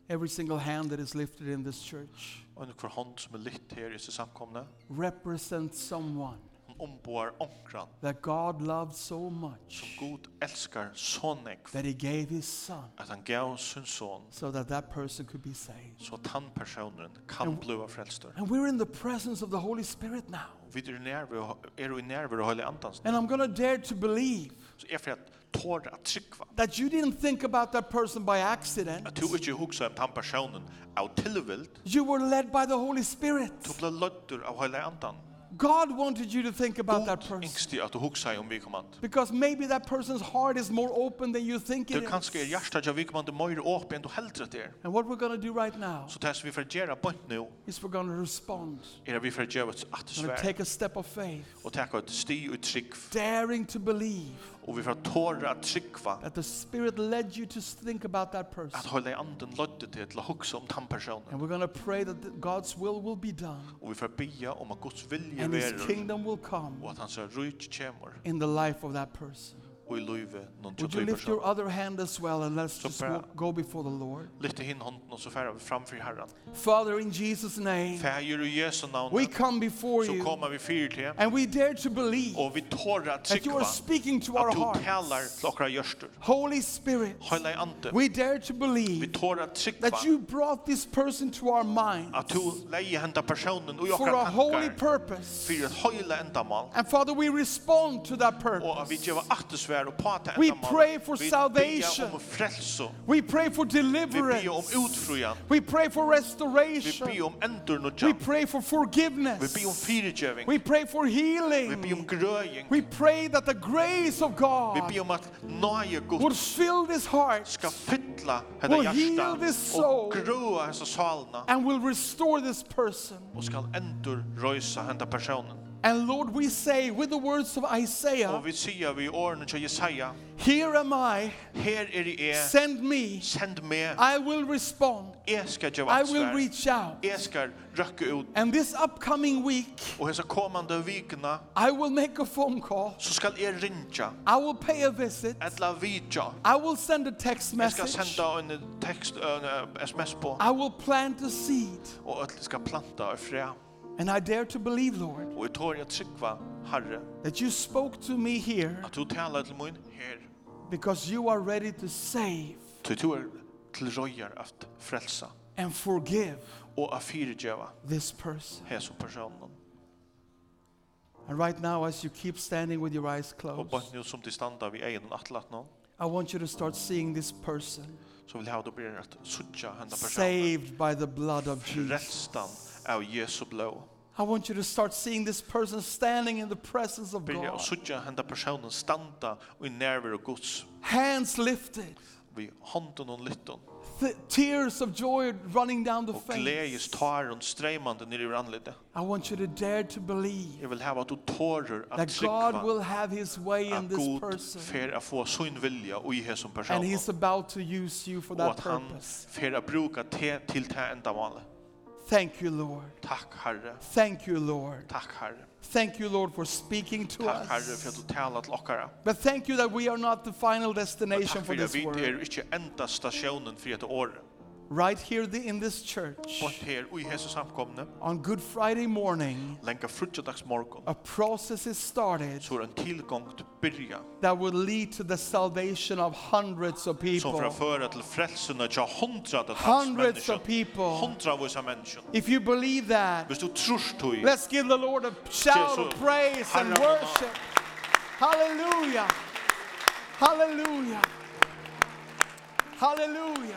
S3: Every single hand that is lifted in this church
S2: Och en kvar hand som är lytt här i sin samkomne.
S3: represents someone
S2: Hon omboar onkran.
S3: that God loved so much
S2: God älskar sonek
S3: that he gave his son
S2: att han gav sin son
S3: so that that person could be saved.
S2: så att han personen kan bliva frälstor.
S3: And we're in the presence of the Holy Spirit now.
S2: Vi är närvaro är i närvaro och helig andans.
S3: And I'm going to dare to believe
S2: Så är för att tåra att tryckva.
S3: that you didn't think about that person by accident.
S2: Att du inte huxa om han personen av tillvild.
S3: You were led by the Holy Spirit.
S2: Du blir löddur av helig andan.
S3: God wanted you to think about that
S2: God
S3: person.
S2: ängstig att du huxa om vikommand.
S3: Because maybe that person's heart is more open than you think it
S2: Du kanske är
S3: is.
S2: hjärtat av vikommand är mer åpen än du hellre det är.
S3: And what we're going to do right now
S2: Så det här som vi får göra på nu
S3: is we're going to respond.
S2: er vi for djevets
S3: We're going to
S2: attsvær
S3: take a step of faith,
S2: og taka et sti og trygg
S3: daring to believe
S2: og vi for tåra at tryggva
S3: that the Spirit led you to think about that
S2: at
S3: person.
S2: holde anden lødde til til å hugsa um om den personen
S3: And we're going to pray that th- God's will will be done
S2: og vi for bia om at um Guds vilje
S3: and His
S2: verur
S3: kingdom will come
S2: og at hans rujt kjemur
S3: in the life of that person.
S2: og i luive noen til
S3: Would you
S2: tui
S3: lift your
S2: person
S3: other hand as well and let's
S2: So
S3: just
S2: pra-
S3: walk, go before the Lord?
S2: lytte hin hånden og så færa vi framfyr herran
S3: Father, in Jesus' name,
S2: fægir i Jesu
S3: we
S2: navn
S3: come before
S2: så
S3: you
S2: kommer vi fyr til
S3: and we dare to believe
S2: og vi tåra at
S3: that you
S2: tryggva
S3: are speaking to our
S2: at du talar
S3: hearts.
S2: til okra gjørstur
S3: Holy Spirit,
S2: holde anden
S3: we dare to
S2: vi
S3: believe
S2: tåra at tryggva
S3: that you brought this person to our mind
S2: at du leie henda personen og i
S3: for
S2: okra
S3: a holy
S2: tankar
S3: purpose.
S2: fyrir at høyla endamal
S3: And Father, we respond to that
S2: og at vi
S3: purpose.
S2: gjeva attusvær og pata
S3: We pray for
S2: Vi
S3: salvation.
S2: bia om frelso.
S3: We pray for
S2: Vi bia om
S3: deliverance.
S2: utfrujan.
S3: We pray for
S2: Vi bia
S3: restoration.
S2: om endurnudja.
S3: We pray for
S2: Vi bia om
S3: forgiveness.
S2: fyrirgjeving.
S3: We pray for
S2: Vi bia om
S3: healing.
S2: grøying.
S3: We pray that the grace of
S2: Vi
S3: God
S2: bia om at nøye
S3: would
S2: Guds
S3: fill this heart
S2: skal fylla henne
S3: Will
S2: hjärsta
S3: heal this
S2: og
S3: soul.
S2: grøa hessa salna
S3: and will restore this person.
S2: og skal endur røysa henne personen.
S3: And Lord, we say with the words of Isaiah,
S2: Og vi sier vi i årene til Jesaja,
S3: Here am I,
S2: her er i er,
S3: send me,
S2: send meg,
S3: I will respond,
S2: jeg skal gjøre
S3: I will
S2: ansvar,
S3: reach out.
S2: jeg skal røkke ut,
S3: And this upcoming week,
S2: og hese kommande vikene,
S3: I will make a phone call,
S2: så skal jeg rinja,
S3: I will pay a visit,
S2: etla vidja,
S3: I will send a text
S2: jeg skal
S3: message,
S2: senda en tekst, en eh, sms på,
S3: I will plant a seed.
S2: og øtla skal planta og fræ,
S3: And I dare to believe, Lord,
S2: og jeg tår jeg tryggva, Herre,
S3: that you spoke to me here
S2: at du taler til min her,
S3: because you are ready to save
S2: til du er til røyer at frelsa,
S3: and forgive
S2: og at fyrdjeva
S3: this person.
S2: hese personen.
S3: And right now, as you keep standing with your eyes
S2: Og
S3: closed,
S2: bare nu som til standa vi egen atlat nå,
S3: I want you to start seeing this person
S2: så vil jeg ha det blir at suttja henda personen,
S3: saved by the blood of Jesus.
S2: frelstan av Jesu blå.
S3: I want you to start seeing this person standing in the presence of
S2: Byrja å
S3: God,
S2: suttja henda personen standa og i nerver og gods,
S3: hands lifted,
S2: vi hånden og lytten,
S3: th- tears of joy running down the
S2: og
S3: face.
S2: gledes tar og streimande nere i anledde.
S3: I want you to dare to believe
S2: Jeg vil hava at du tårer at
S3: that God
S2: tryggva
S3: will have his way in
S2: at
S3: this
S2: god
S3: person.
S2: fer at få sin vilja og i hesum
S3: And
S2: personen,
S3: he's about to use you for
S2: og
S3: that
S2: at han
S3: purpose.
S2: fer at bruka te til te enda vanlig.
S3: Thank you, Lord.
S2: Takk Herre,
S3: Thank you, Lord.
S2: takk Herre,
S3: Thank you, Lord, for speaking to
S2: takk Herre for at
S3: us.
S2: du talar til okkara.
S3: But thank you that we are not the final
S2: Men
S3: destination
S2: Takk
S3: for
S2: fyrir
S3: this
S2: at vi er
S3: world.
S2: ikke enda stasjonen for dette året.
S3: Right here the- in this church,
S2: Bort her og i hese samkomne,
S3: on Good Friday morning,
S2: lenga frutjedags morgon,
S3: a process is started
S2: så er en tilgang til byrja,
S3: that will lead to the salvation of hundreds
S2: som
S3: of
S2: fra
S3: people.
S2: føra til frelsene til hundra til tals
S3: Hundreds of
S2: menneskjen.
S3: people.
S2: Hundra av vissa menneskjen.
S3: If you believe that,
S2: Hvis du trus tog,
S3: let's give the Lord a shout of praise and worship. Hallelujah. Hallelujah. Hallelujah.